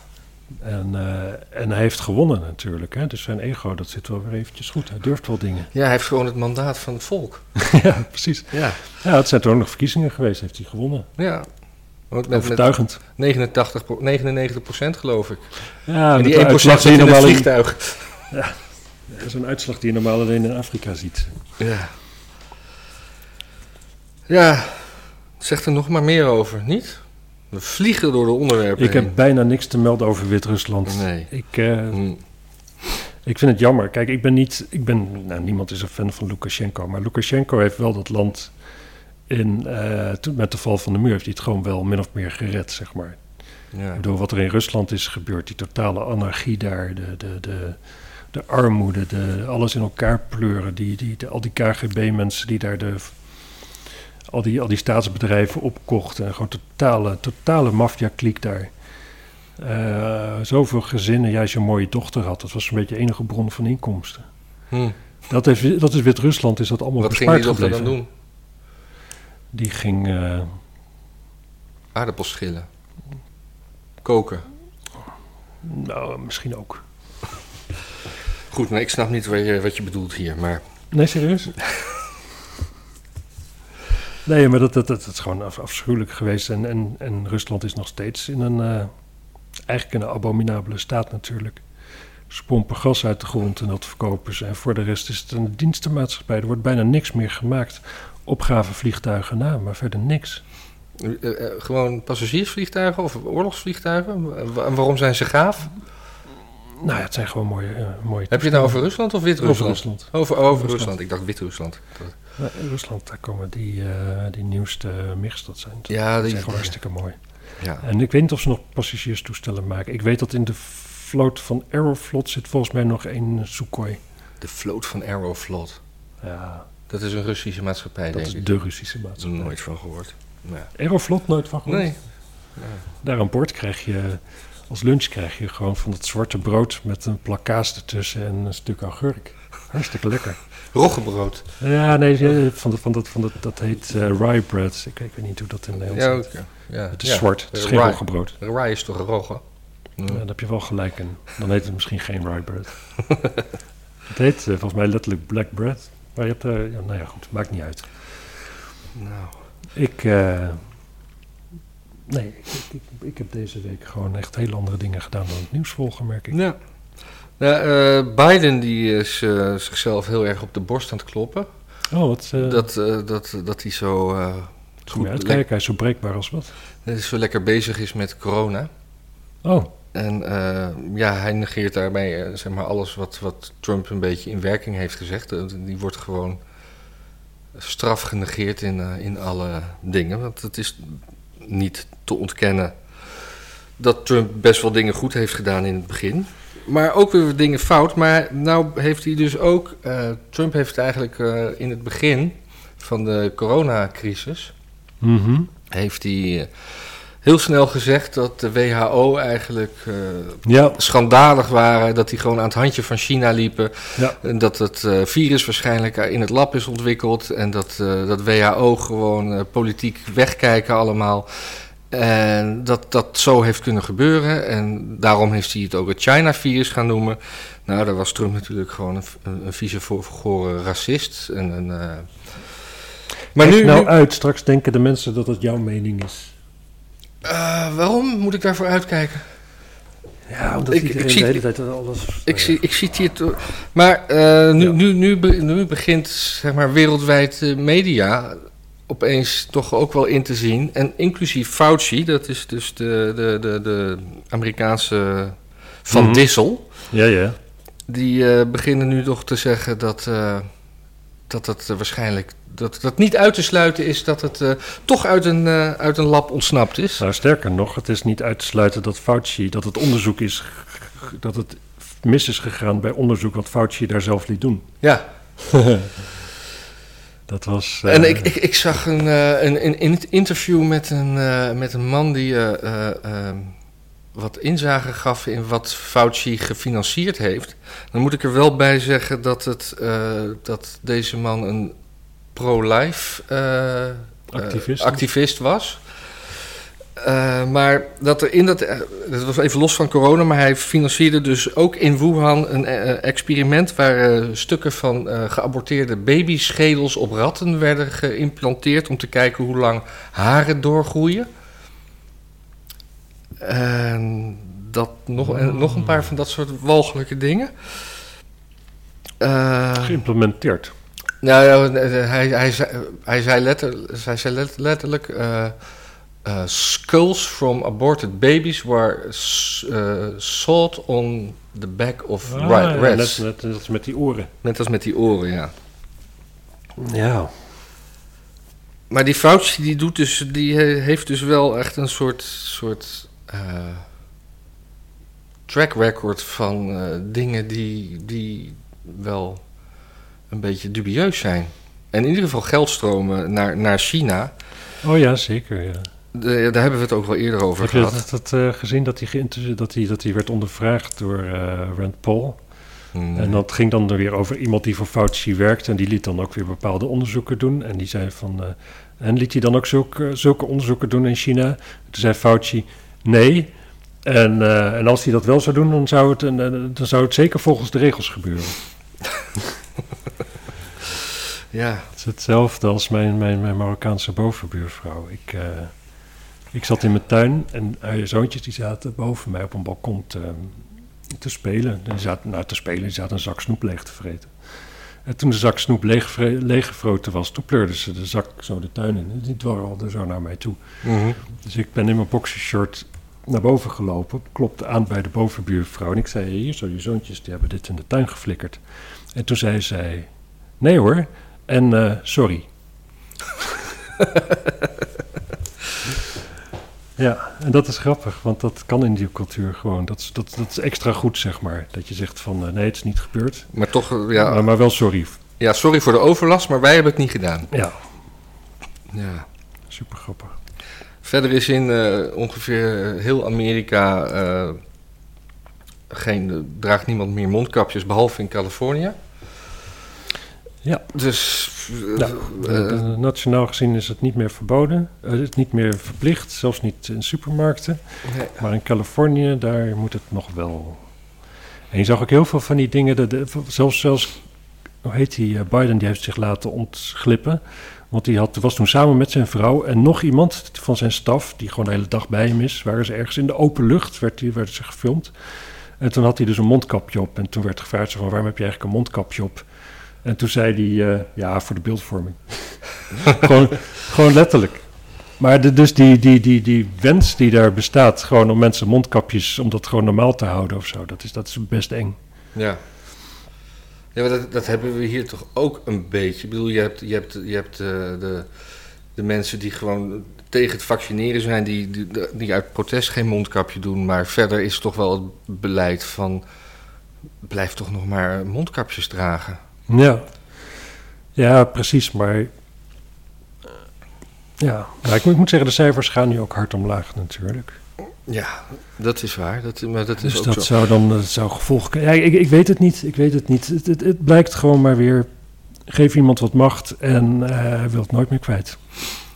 S1: En, eh, en hij heeft gewonnen natuurlijk, hè? dus zijn ego dat zit wel weer eventjes goed. Hij durft wel dingen.
S2: ja, hij heeft gewoon het mandaat van het volk.
S1: ja, precies.
S2: Ja.
S1: Ja, het zijn toch ook nog verkiezingen geweest, heeft hij gewonnen.
S2: Ja. Want met, met
S1: Overtuigend.
S2: 89, pro- 99 procent geloof ik.
S1: Ja,
S2: en
S1: met
S2: die
S1: de
S2: 1
S1: uitslag
S2: procent
S1: die
S2: zit
S1: je
S2: in het
S1: normaal in-
S2: vliegtuig.
S1: Zo'n uitslag die je normaal alleen in Afrika ziet.
S2: Ja. Ja. Zeg er nog maar meer over, niet? We vliegen door de onderwerpen
S1: Ik heb
S2: heen.
S1: bijna niks te melden over Wit-Rusland.
S2: Nee.
S1: Ik, eh,
S2: Hm.
S1: Ik vind het jammer. Kijk, ik ben niet. Ik ben, nou, niemand is een fan van Lukashenko. Maar Lukashenko heeft wel dat land. In, eh, toen, met de val van de muur heeft hij het gewoon wel min of meer gered, zeg maar.
S2: Ja.
S1: Ik bedoel, wat er in Rusland is gebeurd, die totale anarchie daar, de, de, de, de armoede, de, alles in elkaar pleuren, die, die, de- al die KGB-mensen die daar de, al, die, al die staatsbedrijven opkochten. En gewoon totale, totale maffia-kliek daar. Eh, zoveel gezinnen, ja, als je een mooie dochter had, dat was een beetje de enige bron van inkomsten.
S2: Hm.
S1: Dat, heeft, dat is Wit-Rusland, is dat allemaal
S2: Wat ging
S1: bespaard
S2: die dochter dan
S1: gebleven.
S2: doen?
S1: Die ging, eh,
S2: Aardappels schillen. Koken.
S1: nou, misschien ook.
S2: Goed, maar ik snap niet wat je, wat je bedoelt hier, maar...
S1: Nee, serieus? Nee, maar dat, dat, dat, dat is gewoon af- afschuwelijk geweest. En, en, en Rusland is nog steeds in een, eh, eigenlijk in een abominabele staat natuurlijk. Ze pompen gas uit de grond en dat verkopen ze. En voor de rest is het een dienstenmaatschappij. Er wordt bijna niks meer gemaakt. Opgave vliegtuigen na, maar verder niks.
S2: Eh, eh, gewoon passagiersvliegtuigen of oorlogsvliegtuigen? Wa- waarom zijn ze gaaf?
S1: Nou ja, het zijn gewoon mooie, eh, mooie
S2: Heb je het nou over Rusland of Wit-Rusland?
S1: over Rusland.
S2: Over, over Rusland.
S1: Rusland.
S2: ik dacht Wit-Rusland.
S1: Nou, in Rusland, daar komen die, eh, die nieuwste mix, dat zijn.
S2: Ja,
S1: dat
S2: die,
S1: zijn gewoon hartstikke mooi.
S2: ja.
S1: En ik weet niet of ze nog passagierstoestellen maken. Ik weet dat in de vloot van Aeroflot zit volgens mij nog één Sukhoi.
S2: De vloot van Aeroflot.
S1: Ja,
S2: Dat is een Russische maatschappij,
S1: dat
S2: denk
S1: is
S2: ik.
S1: de Russische
S2: Dat heb ik
S1: maatschappij.
S2: nooit van gehoord. Nou, ja.
S1: Aeroflot nooit van gehoord?
S2: nee.
S1: Daar aan boord krijg je, als lunch krijg je gewoon van dat zwarte brood met een plak kaas ertussen en een stuk augurk. Hartstikke lekker.
S2: Roggebrood.
S1: Ja, nee, van dat, van dat, van dat, dat heet eh, rye bread. Ik, weet- ik weet niet hoe dat in Nederland
S2: Ja,
S1: heet.
S2: oké. ja.
S1: Het is
S2: ja. Eh,
S1: zwart, het is geen
S2: Rye.
S1: roggebrood.
S2: Rye is toch rogge?
S1: Ja, daar heb je wel gelijk in. Dan heet het misschien geen rye bread. het heet eh, volgens mij letterlijk black bread. Maar je hebt daar, ja, nou ja, goed, maakt niet uit.
S2: Nou,
S1: Ik, eh, nee, ik, ik, ik heb deze week gewoon echt heel andere dingen gedaan dan het nieuws volgen, merk ik.
S2: Ja. Nou, eh, Biden die is eh, zichzelf heel erg op de borst aan het kloppen.
S1: Oh, wat, eh,
S2: dat, eh, dat, dat hij zo, eh,
S1: Goed, moet je
S2: Goed,
S1: uitkijken, hij is zo breekbaar als wat.
S2: le- zo lekker bezig is met corona.
S1: Oh,
S2: En eh, ja, hij negeert daarmee eh, zeg maar alles wat, wat Trump een beetje in werking heeft gezegd. Eh, die wordt gewoon straf genegeerd in, eh, in alle dingen. Want het is niet te ontkennen dat Trump best wel dingen goed heeft gedaan in het begin. Maar ook weer dingen fout. Maar nou heeft hij dus ook... eh, Trump heeft eigenlijk eh, in het begin van de coronacrisis
S1: mhm.
S2: heeft hij eh, heel snel gezegd dat de WHO eigenlijk eh,
S1: ja,
S2: schandalig waren. Dat die gewoon aan het handje van China liepen.
S1: ja.
S2: En dat het eh, virus waarschijnlijk in het lab is ontwikkeld. En dat, eh, dat WHO gewoon eh, politiek wegkijken allemaal. En dat dat zo heeft kunnen gebeuren. En daarom heeft hij het ook het China-virus gaan noemen. Nou, daar was Trump natuurlijk gewoon een, v- een, een vieze voorgore racist. En een, eh, Maar
S1: Maar
S2: nu,
S1: nou
S2: nu-
S1: uit, straks denken de mensen dat dat jouw mening is.
S2: Eh, waarom moet ik daarvoor uitkijken?
S1: Ja, omdat
S2: Ik- ik
S1: iedereen
S2: zie-
S1: de hele tijd alles...
S2: Ik zie, ik zie het hier toch. Maar eh, nu,
S1: Oh, Ja.
S2: nu, nu, be- nu begint zeg maar, wereldwijd eh, media opeens toch ook wel in te zien. En inclusief Fauci, dat is dus de, de, de, de Amerikaanse Van
S1: Mhm.
S2: Dissel.
S1: Ja, ja.
S2: Die eh, beginnen nu toch te zeggen dat eh, dat, dat eh, waarschijnlijk. Dat dat niet uit te sluiten is dat het eh, toch uit een, eh, uit een lab ontsnapt is.
S1: Nou, sterker nog, het is niet uit te sluiten dat Fauci, dat het onderzoek is, g- g- dat het mis is gegaan bij onderzoek wat Fauci daar zelf liet doen.
S2: Ja,
S1: Dat was... eh,
S2: En ik, ik, ik zag een, eh, een, een in- interview met een, eh, met een man die eh, eh, ehm, wat inzage gaf in wat Fauci gefinancierd heeft. Dan moet ik er wel bij zeggen dat, het, eh, dat deze man een pro-life eh,
S1: Activist.
S2: eh, activist was. Eh, maar dat er in dat, eh, dat was even los van corona, maar hij financierde dus ook in Wuhan een eh, experiment waar eh, stukken van eh, geaborteerde babyschedels op ratten werden geïmplanteerd om te kijken hoe lang haren doorgroeien. En dat nog, en nog een paar van dat soort walgelijke dingen. Eh,
S1: Geïmplementeerd.
S2: nou, ja, eh, eh, hij, hij, zei, hij zei letterlijk, hij zei let- letterlijk eh, eh, skulls from aborted babies were s- eh, sawed on the back of
S1: Ah,
S2: ri-
S1: ja,
S2: rats.
S1: net, net, net als met die oren.
S2: Net als met die oren, ja.
S1: Ja.
S2: Maar die Fauci die doet dus, die he- heeft dus wel echt een soort, soort eh, track record van eh, dingen die, die wel een beetje dubieus zijn. En in ieder geval geldstromen naar, naar China.
S1: Oh ja, zeker, ja.
S2: De- daar hebben we het ook wel eerder over
S1: Heb je
S2: gehad.
S1: dat, dat, eh, gezien dat hij, geïnter- dat, hij, dat hij werd ondervraagd door eh, Rand Paul?
S2: Hmm.
S1: En dat ging dan weer over iemand die voor Fauci werkt. En die liet dan ook weer bepaalde onderzoeken doen. En die zei van. eh, en liet hij dan ook zulke, zulke onderzoeken doen in China? Toen zei Fauci nee. En, eh, en als hij dat wel zou doen, dan zou het, een- een- dan zou het zeker volgens de regels gebeuren.
S2: Ja,
S1: Het is hetzelfde als mijn, mijn, mijn Marokkaanse bovenbuurvrouw. Ik, eh, ik zat in mijn tuin en haar zoontjes die zaten boven mij op een balkon te, te spelen. En Die zaten, nou, te spelen, die zaten een zak snoep leeg te vreten. En toen de zak snoep leeg, leeggevroten was, toen pleurden ze de zak zo de tuin in. En Die dwarrelde zo naar mij toe. Dus ik ben in mijn boxershort naar boven gelopen, klopte aan bij de bovenbuurvrouw. En ik zei, hier zo, je zoontjes die hebben dit in de tuin geflikkerd. En toen zei zij, nee hoor, en eh, sorry. ja, en dat is grappig, want dat kan in die cultuur gewoon. Dat is, dat, dat is extra goed, zeg maar. Dat je zegt van, eh, nee, het is niet gebeurd,
S2: Maar toch, eh, ja,
S1: maar, maar wel sorry.
S2: ja, sorry voor de overlast, maar wij hebben het niet gedaan.
S1: Ja,
S2: Ja.
S1: super grappig.
S2: Verder is in eh, ongeveer heel Amerika eh, geen, eh, draagt niemand meer mondkapjes, behalve in Californië.
S1: Ja.
S2: Dus eh,
S1: Nou,
S2: eh,
S1: eh, nationaal gezien is het niet meer verboden, eh, het is niet meer verplicht, zelfs niet in supermarkten.
S2: nee.
S1: Maar in Californië, daar moet het nog wel. En je zag ook heel veel van die dingen. Dat, dat- zelfs, zelfs, hoe heet die, eh, Biden, die heeft zich laten ontglippen. Want die had, was toen samen met zijn vrouw en nog iemand van zijn staf, die gewoon de hele dag bij hem is, waren ze ergens in de open lucht, werd, die, werden ze gefilmd. En toen had hij dus een mondkapje op. En toen werd gevraagd, zo van, waarom heb je eigenlijk een mondkapje op? En toen zei hij, eh, ja, voor de beeldvorming. gewoon, gewoon letterlijk. Maar de- dus die, die, die, die wens die daar bestaat, gewoon om mensen mondkapjes, om dat gewoon normaal te houden of zo, dat is, dat is best eng.
S2: ja. ja maar dat, dat hebben we hier toch ook een beetje. Ik bedoel, je hebt, je hebt, je hebt eh, de, de mensen die gewoon tegen het vaccineren zijn, die, die, die uit protest geen mondkapje doen. Maar verder is toch wel het beleid van blijf toch nog maar mondkapjes dragen.
S1: Ja, ja precies, maar. eh, Ja, maar ik, moet- ik moet zeggen, de cijfers gaan nu ook hard omlaag natuurlijk.
S2: Ja, dat is waar. Dat, maar dat is
S1: dus
S2: ook
S1: dat
S2: zo.
S1: zou dan dat zou gevolg kunnen. Ja, ik, ik weet het niet. Ik weet het niet. Het, het, het blijkt gewoon maar weer. Geef iemand wat macht en eh, hij wil het nooit meer kwijt.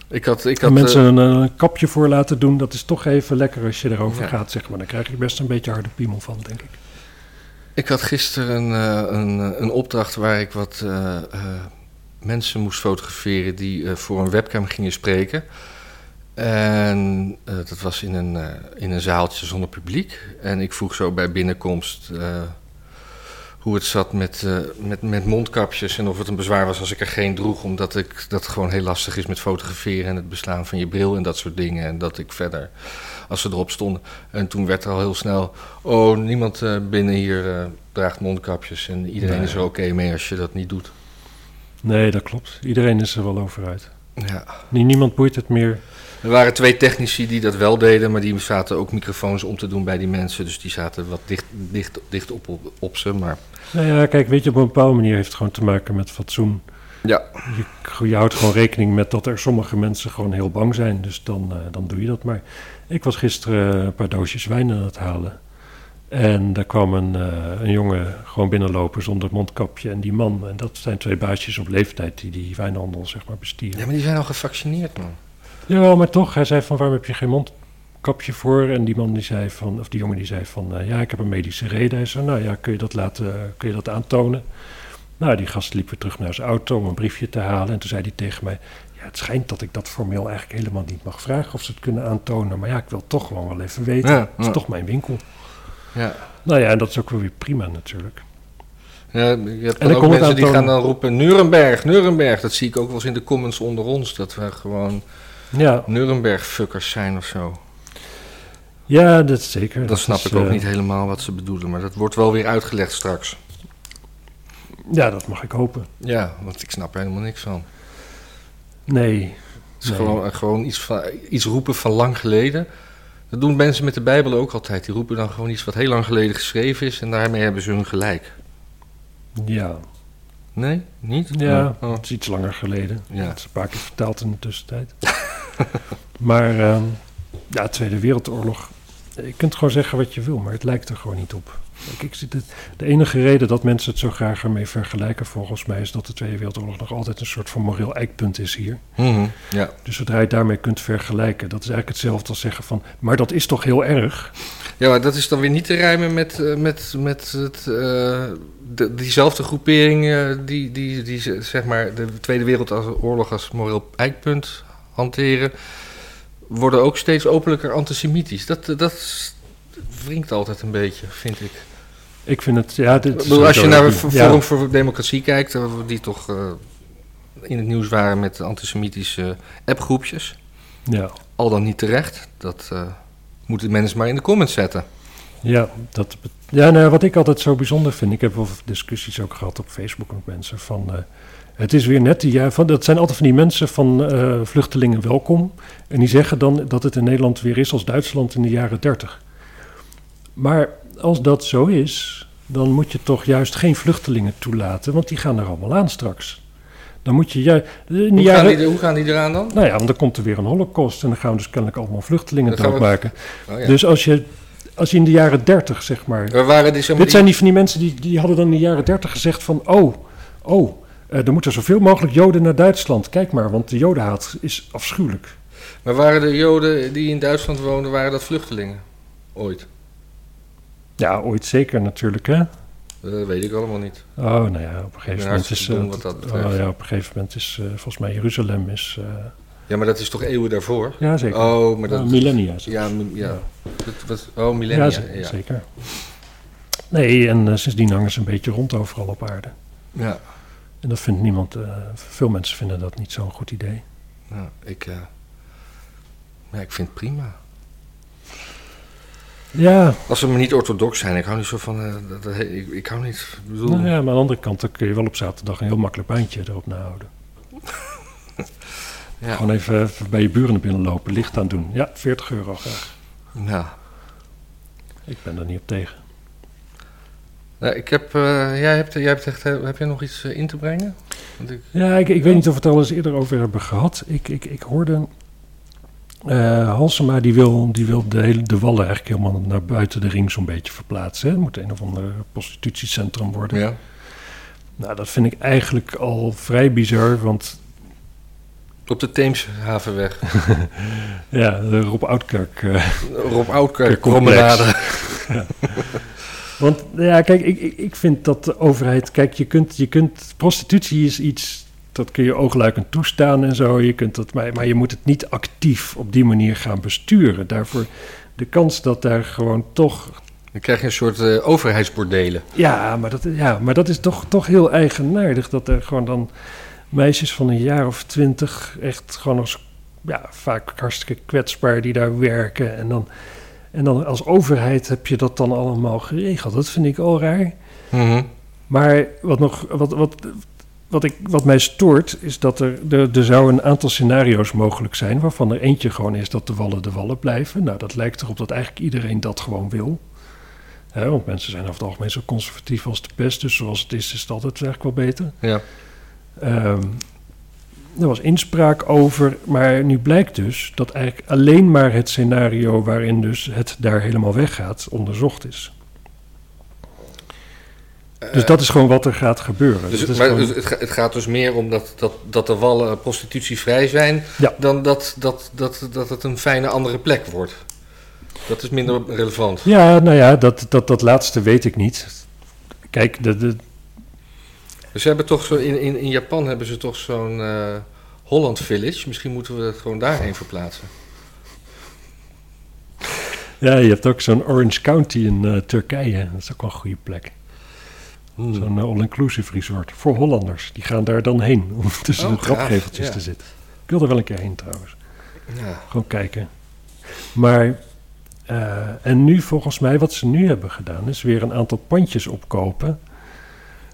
S2: Ik had, ik had
S1: En mensen
S2: eh,
S1: een, een kapje voor laten doen, dat is toch even lekker als je erover
S2: Ja.
S1: gaat, zeg maar. Dan krijg je best een beetje harde piemel van, denk ik.
S2: eh, ik had gisteren eh, een, eh, een opdracht waar ik wat eh, eh, mensen moest fotograferen die eh, voor een webcam gingen spreken. En eh, dat was in een, eh, in een zaaltje zonder publiek. En ik vroeg zo bij binnenkomst eh, hoe het zat met, eh, met, met mondkapjes en of het een bezwaar was als ik er geen droeg, omdat ik, dat gewoon heel lastig is met fotograferen en het beslaan van je bril en dat soort dingen. En dat ik verder, als ze erop stonden. En toen werd er al heel snel, oh, niemand eh, binnen hier eh, draagt mondkapjes en iedereen
S1: Nee.
S2: is er oké mee als je dat niet doet.
S1: Nee, dat klopt. Iedereen is er wel over uit.
S2: Ja.
S1: Nie- Niemand boeit het meer.
S2: Er waren twee technici die dat wel deden, maar die zaten ook microfoons om te doen bij die mensen. Dus die zaten wat dicht, dicht, dicht op, op, op ze. Maar
S1: Nou ja, kijk, weet je, op een bepaalde manier heeft het gewoon te maken met fatsoen.
S2: ja,
S1: Je, je houdt gewoon rekening met dat er sommige mensen gewoon heel bang zijn. Dus dan, eh, dan doe je dat maar. Ik was gisteren een paar doosjes wijn aan het halen. En daar kwam een, eh, een jongen gewoon binnenlopen zonder mondkapje. En die man, en dat zijn twee baasjes op leeftijd die die wijnhandel zeg maar bestieren.
S2: ja, maar die zijn al gevaccineerd, man.
S1: Jawel, maar toch, hij zei van waarom heb je geen mondkapje voor? En die man die zei van, of die jongen die zei van, eh, ja, ik heb een medische reden. Hij zei, nou ja, kun je dat laten, kun je dat aantonen? Nou, die gast liep weer terug naar zijn auto om een briefje te halen. En toen zei hij tegen mij, ja, het schijnt dat ik dat formeel eigenlijk helemaal niet mag vragen of ze het kunnen aantonen. Maar ja, ik wil het toch gewoon wel even weten.
S2: Ja,
S1: Het is
S2: ja.
S1: toch mijn winkel.
S2: Ja.
S1: Nou ja, en dat is ook wel weer prima natuurlijk.
S2: Ja, je hebt
S1: En
S2: dan
S1: dan
S2: ook
S1: komt het
S2: mensen die
S1: aan
S2: gaan
S1: tonen.
S2: dan roepen, Nuremberg, Nuremberg. Dat zie ik ook wel eens in de comments onder ons, dat we gewoon
S1: Ja,
S2: Nuremberg-fuckers zijn of zo.
S1: ja dat is zeker.
S2: Dan
S1: Dat
S2: snap
S1: is,
S2: ik ook
S1: eh,
S2: niet helemaal wat ze bedoelen, maar dat wordt wel weer uitgelegd straks.
S1: Ja, dat mag ik hopen.
S2: Ja, want ik snap er helemaal niks van.
S1: Nee,
S2: Het is
S1: Nee.
S2: gewoon, gewoon iets, van, iets roepen van lang geleden. Dat doen mensen met de Bijbel ook altijd. Die roepen dan gewoon iets wat heel lang geleden geschreven is en daarmee hebben ze hun gelijk.
S1: ja.
S2: Nee? Niet?
S1: Ja,
S2: Oh, oh.
S1: het is iets langer geleden.
S2: Ja.
S1: Het is een paar keer vertaald in de tussentijd. maar ehm, ja, Tweede Wereldoorlog. Je kunt gewoon zeggen wat je wil, maar het lijkt er gewoon niet op. Kijk, ik zit het, de enige reden dat mensen het zo graag ermee vergelijken, volgens mij, is dat de Tweede Wereldoorlog nog altijd een soort van moreel eikpunt is hier.
S2: Mhm, ja.
S1: Dus zodra je het daarmee kunt vergelijken, dat is eigenlijk hetzelfde als zeggen van, maar dat is toch heel erg?
S2: ja, maar dat is dan weer niet te rijmen met, eh, met, met het, eh, de- diezelfde groepering eh, die, die, die ze- zeg maar de Tweede Wereldoorlog als moreel eikpunt hanteren. Worden ook steeds openlijker antisemitisch. Dat, dat wringt altijd een beetje, vind ik.
S1: Ik vind het, ja, dit
S2: Ik
S1: is
S2: bedoel, als je
S1: sowieso-
S2: naar een v-
S1: ja.
S2: Forum voor Democratie kijkt, eh, die toch eh, in het nieuws waren met antisemitische appgroepjes.
S1: Ja.
S2: Al dan niet terecht. Dat, eh, moeten mensen maar in de comments zetten.
S1: Ja, dat, bet- ja nou, wat ik altijd zo bijzonder vind, ik heb wel discussies ook gehad op Facebook met mensen van. eh, het is weer net die jaar van. Dat zijn altijd van die mensen van eh, vluchtelingen welkom. En die zeggen dan dat het in Nederland weer is als Duitsland in de jaren 30. Maar als dat zo is, dan moet je toch juist geen vluchtelingen toelaten, want die gaan er allemaal aan straks. Dan moet je juist. In de
S2: Hoe gaan,
S1: jaren,
S2: die, er- hoe gaan die eraan dan?
S1: nou ja, want dan komt er weer een holocaust en dan gaan we dus kennelijk allemaal vluchtelingen
S2: Dan gaan we-
S1: doodmaken.
S2: Oh, ja.
S1: Dus als je, als je in de jaren 30, zeg maar.
S2: We waren die, zeg maar,
S1: Dit zijn die van die mensen die, die hadden dan in de jaren 30 gezegd van... oh, oh, eh, er moeten zoveel mogelijk Joden naar Duitsland. Kijk maar, want de Jodenhaat is afschuwelijk.
S2: die- maar waren de Joden die in Duitsland woonden, waren dat vluchtelingen? Ooit.
S1: Ja, ooit zeker natuurlijk, hè?
S2: Dat weet ik allemaal niet.
S1: Oh, nou ja, op een
S2: Ik ben
S1: gegeven moment
S2: hartstikke
S1: is...
S2: dom
S1: eh,
S2: wat dat
S1: oh
S2: betreft.
S1: ja, op een gegeven moment is eh, volgens mij Jeruzalem is... eh,
S2: Ja, maar dat is toch eeuwen daarvoor?
S1: ja, zeker.
S2: Oh, maar dat...
S1: Eh, millennia. zelfs.
S2: ja, mi- ja.
S1: Ja.
S2: Dat was- oh, millennia.
S1: Ja,
S2: Ja,
S1: ze-
S2: ja.
S1: zeker. Nee, en eh, sindsdien hangen ze een beetje rond overal op aarde. En dat vindt niemand... eh, veel mensen vinden dat niet zo'n goed idee.
S2: Nou, ik, eh, ja, ik vind het prima.
S1: Ja,
S2: Als ze maar niet orthodox zijn, ik hou niet zo van... eh, dat, dat- ik, ik hou niet... Ik bedoel,
S1: Nou ja, maar aan de andere kant dan kun je wel op zaterdag een heel makkelijk baantje erop nahouden.
S2: Ja.
S1: Gewoon even, eh, even bij je buren naar binnen lopen, licht aan doen. Ja, 40 euro graag.
S2: nou.
S1: Ik ben er niet op tegen.
S2: Nou, ik heb, eh, jij hebt, jij hebt echt, eh, heb jij nog iets eh, in te brengen? Want ik,
S1: Ja, ik, ik weet niet of we het al eens eerder over hebben gehad. Ik, ik, ik hoorde eh Halsema, die wil, die wil de, hele, de wallen eigenlijk helemaal naar buiten de ring zo'n beetje verplaatsen. hè. Het moet een of ander prostitutiecentrum worden.
S2: ja.
S1: Nou, dat vind ik eigenlijk al vrij bizar, want
S2: Op de Theemshavenweg.
S1: ja, de Rob Oudkerk... eh,
S2: Rob Oudkerk,
S1: Complex.
S2: promenade.
S1: Want ja, kijk, ik, ik- ik vind dat de overheid. Kijk, je kunt, je kunt. Prostitutie is iets. Dat kun je oogluikend toestaan en zo. Je kunt dat, maar, maar je moet het niet actief op die manier gaan besturen. Daarvoor de kans dat daar gewoon toch.
S2: Dan krijg je een soort eh, overheidsbordelen.
S1: Ja, maar dat, ja, maar dat is toch, toch heel eigenaardig. Dat er gewoon dan meisjes van een jaar of twintig. echt gewoon als. Ja, vaak hartstikke kwetsbaar die daar werken. En dan, en dan als overheid heb je dat dan allemaal geregeld. Dat vind ik al raar.
S2: Mhm.
S1: Maar wat, nog, wat, wat, wat, ik, wat mij stoort, is dat er, er, er zou een aantal scenario's mogelijk zijn... waarvan er eentje gewoon is dat de wallen de wallen blijven. Nou, dat lijkt erop dat eigenlijk iedereen dat gewoon wil. Hè, want mensen zijn over het algemeen zo conservatief als de pest... dus zoals het is, is het altijd eigenlijk wel beter.
S2: Ja.
S1: Ehm, er was inspraak over, maar nu blijkt dus... dat eigenlijk alleen maar het scenario waarin dus het daar helemaal weggaat onderzocht is. Dus
S2: Eh,
S1: dat is gewoon wat er gaat gebeuren.
S2: dus,
S1: Dat is
S2: maar
S1: gewoon-
S2: het, het ga- het gaat dus meer om dat, dat, dat de wallen eh, prostitutievrij zijn...
S1: Ja.
S2: dan dat, dat, dat, dat het een fijne andere plek wordt. Dat is minder relevant.
S1: Ja, nou ja, dat, dat, dat laatste weet ik niet. Kijk, de, de,
S2: Dus ze hebben toch zo, in, in, in Japan hebben ze toch zo'n eh, Holland Village. Misschien moeten we dat gewoon daarheen verplaatsen.
S1: ja, je hebt ook zo'n Orange County in eh, Turkije. Dat is ook wel een goede plek.
S2: Hmm.
S1: Zo'n eh, all-inclusive resort voor Hollanders. Die gaan daar dan heen om tussen
S2: Oh,
S1: de trapgeveltjes
S2: gaaf,
S1: te
S2: ja.
S1: zitten. Ik wil er wel een keer heen trouwens.
S2: Ja.
S1: Gewoon kijken. Maar, eh, en nu volgens mij wat ze nu hebben gedaan... is weer een aantal pandjes opkopen...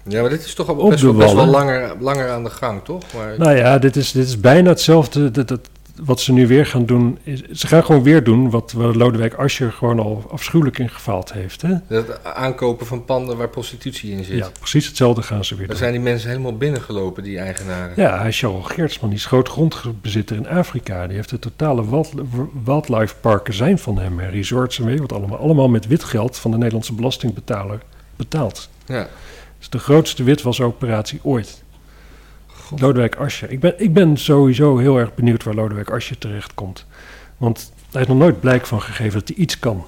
S2: ja, maar dit is toch al
S1: Op
S2: best,
S1: de
S2: wel- best wel
S1: wallen.
S2: langer, langer aan de gang, toch? Maar,
S1: Nou ja, dit is, dit is bijna hetzelfde. Dat, dat, wat ze nu weer gaan doen. Is, ze gaan gewoon weer doen wat eh, Lodewijk Asscher gewoon al afschuwelijk in gefaald heeft. Hè?
S2: Het aankopen van panden waar prostitutie in zit.
S1: Ja, precies hetzelfde gaan ze weer
S2: Daar
S1: doen.
S2: zijn die mensen helemaal binnengelopen, die eigenaren.
S1: Ja, hij is Charles Geertsman, die is groot grondbezitter in Afrika. Die heeft de totale wild- wildlife parken zijn van hem. En resorts en weet je wat allemaal. Allemaal met wit geld van de Nederlandse belastingbetaler betaald.
S2: Ja.
S1: Het is Dus de grootste witwasoperatie ooit. Lodewijk Asscher. Ik ben, ik ben sowieso heel erg benieuwd waar Lodewijk Asscher terechtkomt. Want hij heeft nog nooit blijk van gegeven dat hij iets kan.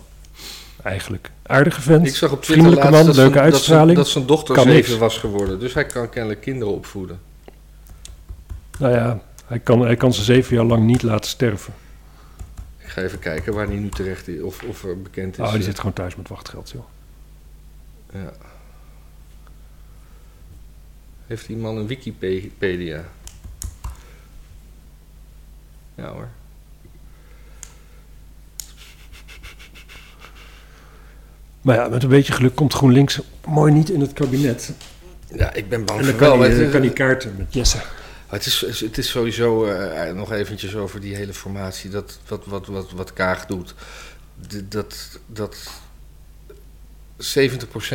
S1: Eigenlijk. Aardige vent.
S2: Ik zag op Twitter
S1: Vriendelijke man,
S2: laatst dat,
S1: leuke
S2: zijn, dat, zijn,
S1: uitstraling.
S2: dat zijn dochter
S1: Kan
S2: zeven
S1: niks.
S2: was geworden. Dus hij kan kennelijk kinderen opvoeden.
S1: Nou ja, hij kan, hij kan ze zeven jaar lang niet laten sterven.
S2: Ik ga even kijken waar hij nu terecht is of, of er bekend is. eh,
S1: Oh, die zit gewoon thuis met wachtgeld, joh.
S2: Ja. Heeft die man een Wikipedia? Ja hoor.
S1: Maar ja, met een beetje geluk komt GroenLinks mooi niet in het kabinet.
S2: Ja, ik ben bang
S1: En dan
S2: voor
S1: kan
S2: wel.
S1: hij,
S2: Het
S1: eh,
S2: is-
S1: kan hij kaarten met Jesse.
S2: Maar Het is, het is sowieso, eh, nog eventjes over die hele formatie, dat, wat, wat, wat, wat Kaag doet. D- Dat, dat 70%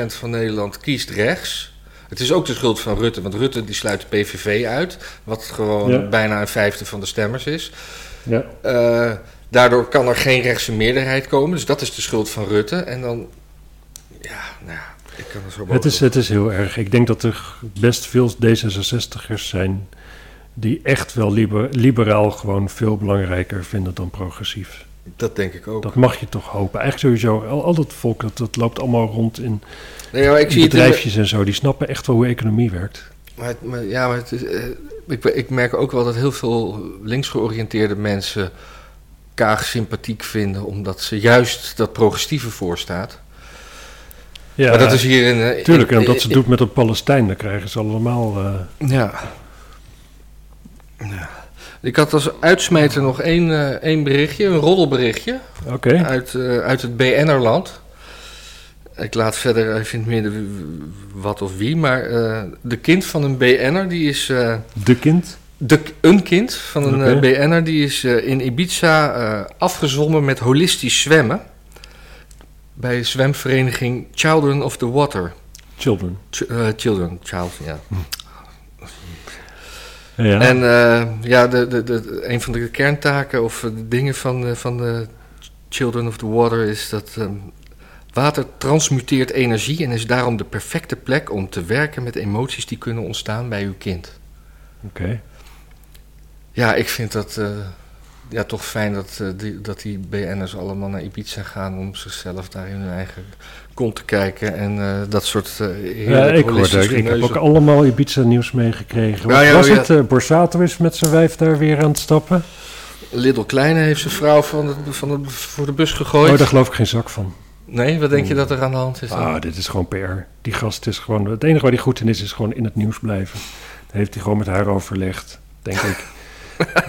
S2: van Nederland kiest rechts. Het is ook de schuld van Rutte, want Rutte die sluit de PVV uit, wat gewoon
S1: Ja.
S2: bijna een vijfde van de stemmers is.
S1: Ja.
S2: Eh, daardoor kan er geen rechtse meerderheid komen, dus dat is de schuld van Rutte. En dan, ja, nou ja, ik kan er zo
S1: Het
S2: boven
S1: is, eh, het is heel erg. Ik denk dat er best veel D66'ers zijn die echt wel liber- liberaal gewoon veel belangrijker vinden dan progressief.
S2: op. Dat denk ik ook.
S1: Dat mag je toch hopen. Eigenlijk sowieso, al, al dat volk, dat, dat loopt allemaal rond in,
S2: Nee, maar ik
S1: in
S2: zie het in de-
S1: bedrijfjes en zo. Die snappen echt wel hoe economie werkt.
S2: Maar, het- maar- ja, maar het is, eh, ik, ik merk ook wel dat heel veel linksgeoriënteerde mensen Kaag sympathiek vinden, omdat ze juist dat progressieve voorstaat.
S1: Ja,
S2: maar dat is hier in. eh,
S1: tuurlijk. En
S2: in-
S1: omdat ze het
S2: in-
S1: doet met een Palestijn, dan krijgen ze allemaal... eh,
S2: Ja. ja. Ik had als uitsmijter nog één, eh, één berichtje, een roddelberichtje
S1: Oké,
S2: uit, eh, uit het BN'erland. Ik laat verder even in het midden wie- wat of wie, maar eh, de kind van een BN'er die is. eh,
S1: de kind.
S2: De, een kind van een
S1: Oké.
S2: eh, BN'er die is eh, in Ibiza eh, afgezwommen met holistisch zwemmen. Bij zwemvereniging Children of the Water.
S1: Children.
S2: Ch- eh, children, child, ja.
S1: Ja,
S2: En eh, ja, de, de, de, een van de kerntaken of eh, de dingen van, eh, van de Children of the Water is dat ehm, water transmuteert energie en is daarom de perfecte plek om te werken met emoties die kunnen ontstaan bij uw kind.
S1: oké.
S2: Ja, ik vind dat eh, ja, toch fijn dat, eh, die, dat die BN'ers allemaal naar Ibiza gaan om zichzelf daar in hun eigen kont te kijken. En eh, dat soort
S1: Ja,
S2: eh heerlijk
S1: ik, hoorde,
S2: holistisch
S1: ik, ik heb
S2: geneuzel.
S1: ook allemaal Ibiza-nieuws meegekregen. Wat
S2: Ja, ja,
S1: was
S2: ja.
S1: het? eh, Borsato is met zijn wijf daar weer aan het stappen.
S2: Little Kleine heeft zijn vrouw van de, van de, voor de bus
S1: Oh,
S2: gegooid.
S1: daar geloof ik geen zak van.
S2: nee, wat denk je dat er aan de hand is? dan?
S1: Ah, dit is gewoon PR. Die gast is gewoon... Het enige waar hij goed in is, is gewoon in het nieuws blijven. Daar heeft hij gewoon met haar overlegd, denk ik.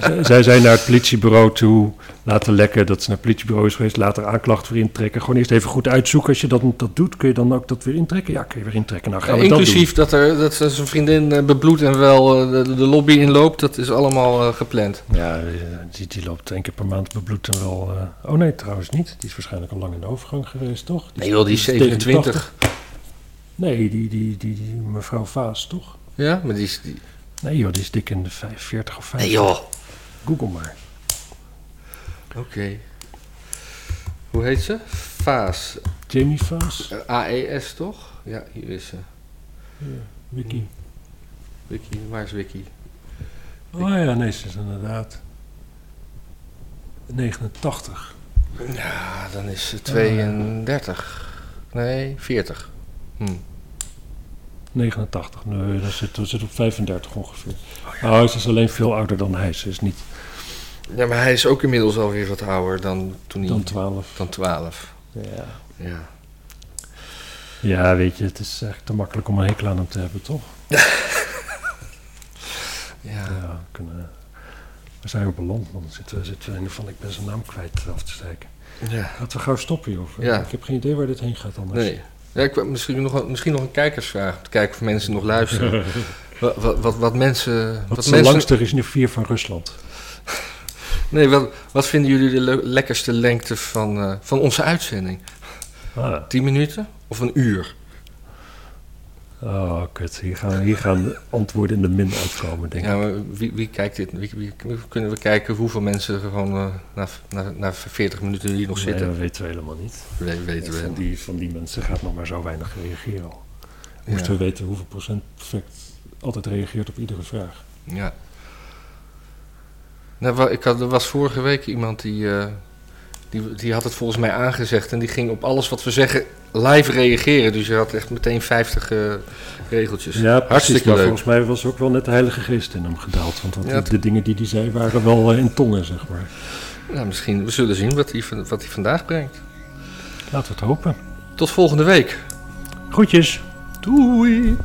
S1: Z- Zij zijn naar het politiebureau toe, laten lekken dat ze naar het politiebureau is geweest, later aanklacht weer intrekken. Gewoon eerst even goed uitzoeken. Als je dat, dat doet, kun je dan ook dat weer intrekken? Ja, kun je weer intrekken. Nou, gaan
S2: Eh,
S1: we
S2: inclusief dat, er, dat ze zijn vriendin eh, bebloedt en wel eh, de, de lobby inloopt, dat is allemaal eh, gepland.
S1: dat doen. Ja, eh, die, die loopt één keer per maand bebloed en wel... eh, oh nee, trouwens niet. Die is waarschijnlijk al lang in de overgang geweest, toch?
S2: Nee joh, die is
S1: 87.
S2: 27.
S1: Nee, die, die, die, die mevrouw Vaas, toch?
S2: Ja, maar die is... Die...
S1: Nee joh, die is dik in de vijf- 40 of 50.
S2: Nee joh.
S1: Google maar.
S2: Oké. Hoe heet ze? Vaas.
S1: Jamie Vaas,
S2: Eh, AES toch? Ja, hier is ze.
S1: Wiki.
S2: Wiki, waar is Wiki?
S1: Oh ja, nee, ze is inderdaad 89.
S2: Ja, dan is ze 32. Nee, 40. Hm.
S1: 89, nee, dat zit, dat zit op 35 ongeveer. Oh, ze is alleen veel ouder dan hij. Ze is niet
S2: Ja, maar hij is ook inmiddels alweer wat ouder dan toen hij...
S1: dan 12.
S2: dan 12.
S1: Ja.
S2: Ja.
S1: ja, weet je, het is echt te makkelijk om een hekel aan hem te hebben, toch?
S2: ja.
S1: Ja, we kunnen... We zijn op een land, man. Zitten, zitten we in ieder geval, ik ben zijn naam kwijt eh, af te steken.
S2: Ja.
S1: Laten we gauw stoppen, joh.
S2: Ja.
S1: Ik heb geen idee waar dit heen gaat anders.
S2: Nee. Ja, ik, wou- misschien, nog, een- misschien nog een kijkersvraag. Om te kijken of mensen nog luisteren. wat, wat, wat, wat mensen...
S1: Wat is de
S2: mensen
S1: langste is nu 4 van Rusland.
S2: nee, wat, wat vinden jullie de le- lekkerste lengte van, eh, van onze uitzending?
S1: Ah.
S2: 10 minuten of een uur?
S1: Oh, kut. Hier gaan, hier gaan de antwoorden in de min uitkomen, denk ik.
S2: Ja, maar wie, wie kijkt dit? Wie, wie- wie- kunnen we kijken hoeveel mensen er gewoon eh, na, na, na 40 minuten hier nog
S1: Nee,
S2: zitten?
S1: dat weten we helemaal niet.
S2: We- weten we.
S1: Van die, van die mensen gaat nog maar zo weinig reageren. al.
S2: Ja.
S1: Moesten we weten hoeveel procent perfect altijd reageert op iedere vraag.
S2: Ja. Nou, wa- ik had, er was vorige week iemand die, eh, die, die had het volgens mij aangezegd en die ging op alles wat we zeggen live reageren. Dus je had echt meteen 50 eh, regeltjes.
S1: Ja, precies.
S2: Hartstikke
S1: maar
S2: leuk.
S1: volgens mij was ook wel net de heilige geest in hem gedaald. Want dat
S2: Ja,
S1: die-
S2: t-
S1: de dingen die hij zei waren wel eh, in tongen, zeg maar.
S2: Nou, misschien, we zullen zien wat hij, van- wat hij vandaag brengt.
S1: Laten we het hopen.
S2: Tot volgende week.
S1: Groetjes. Doei.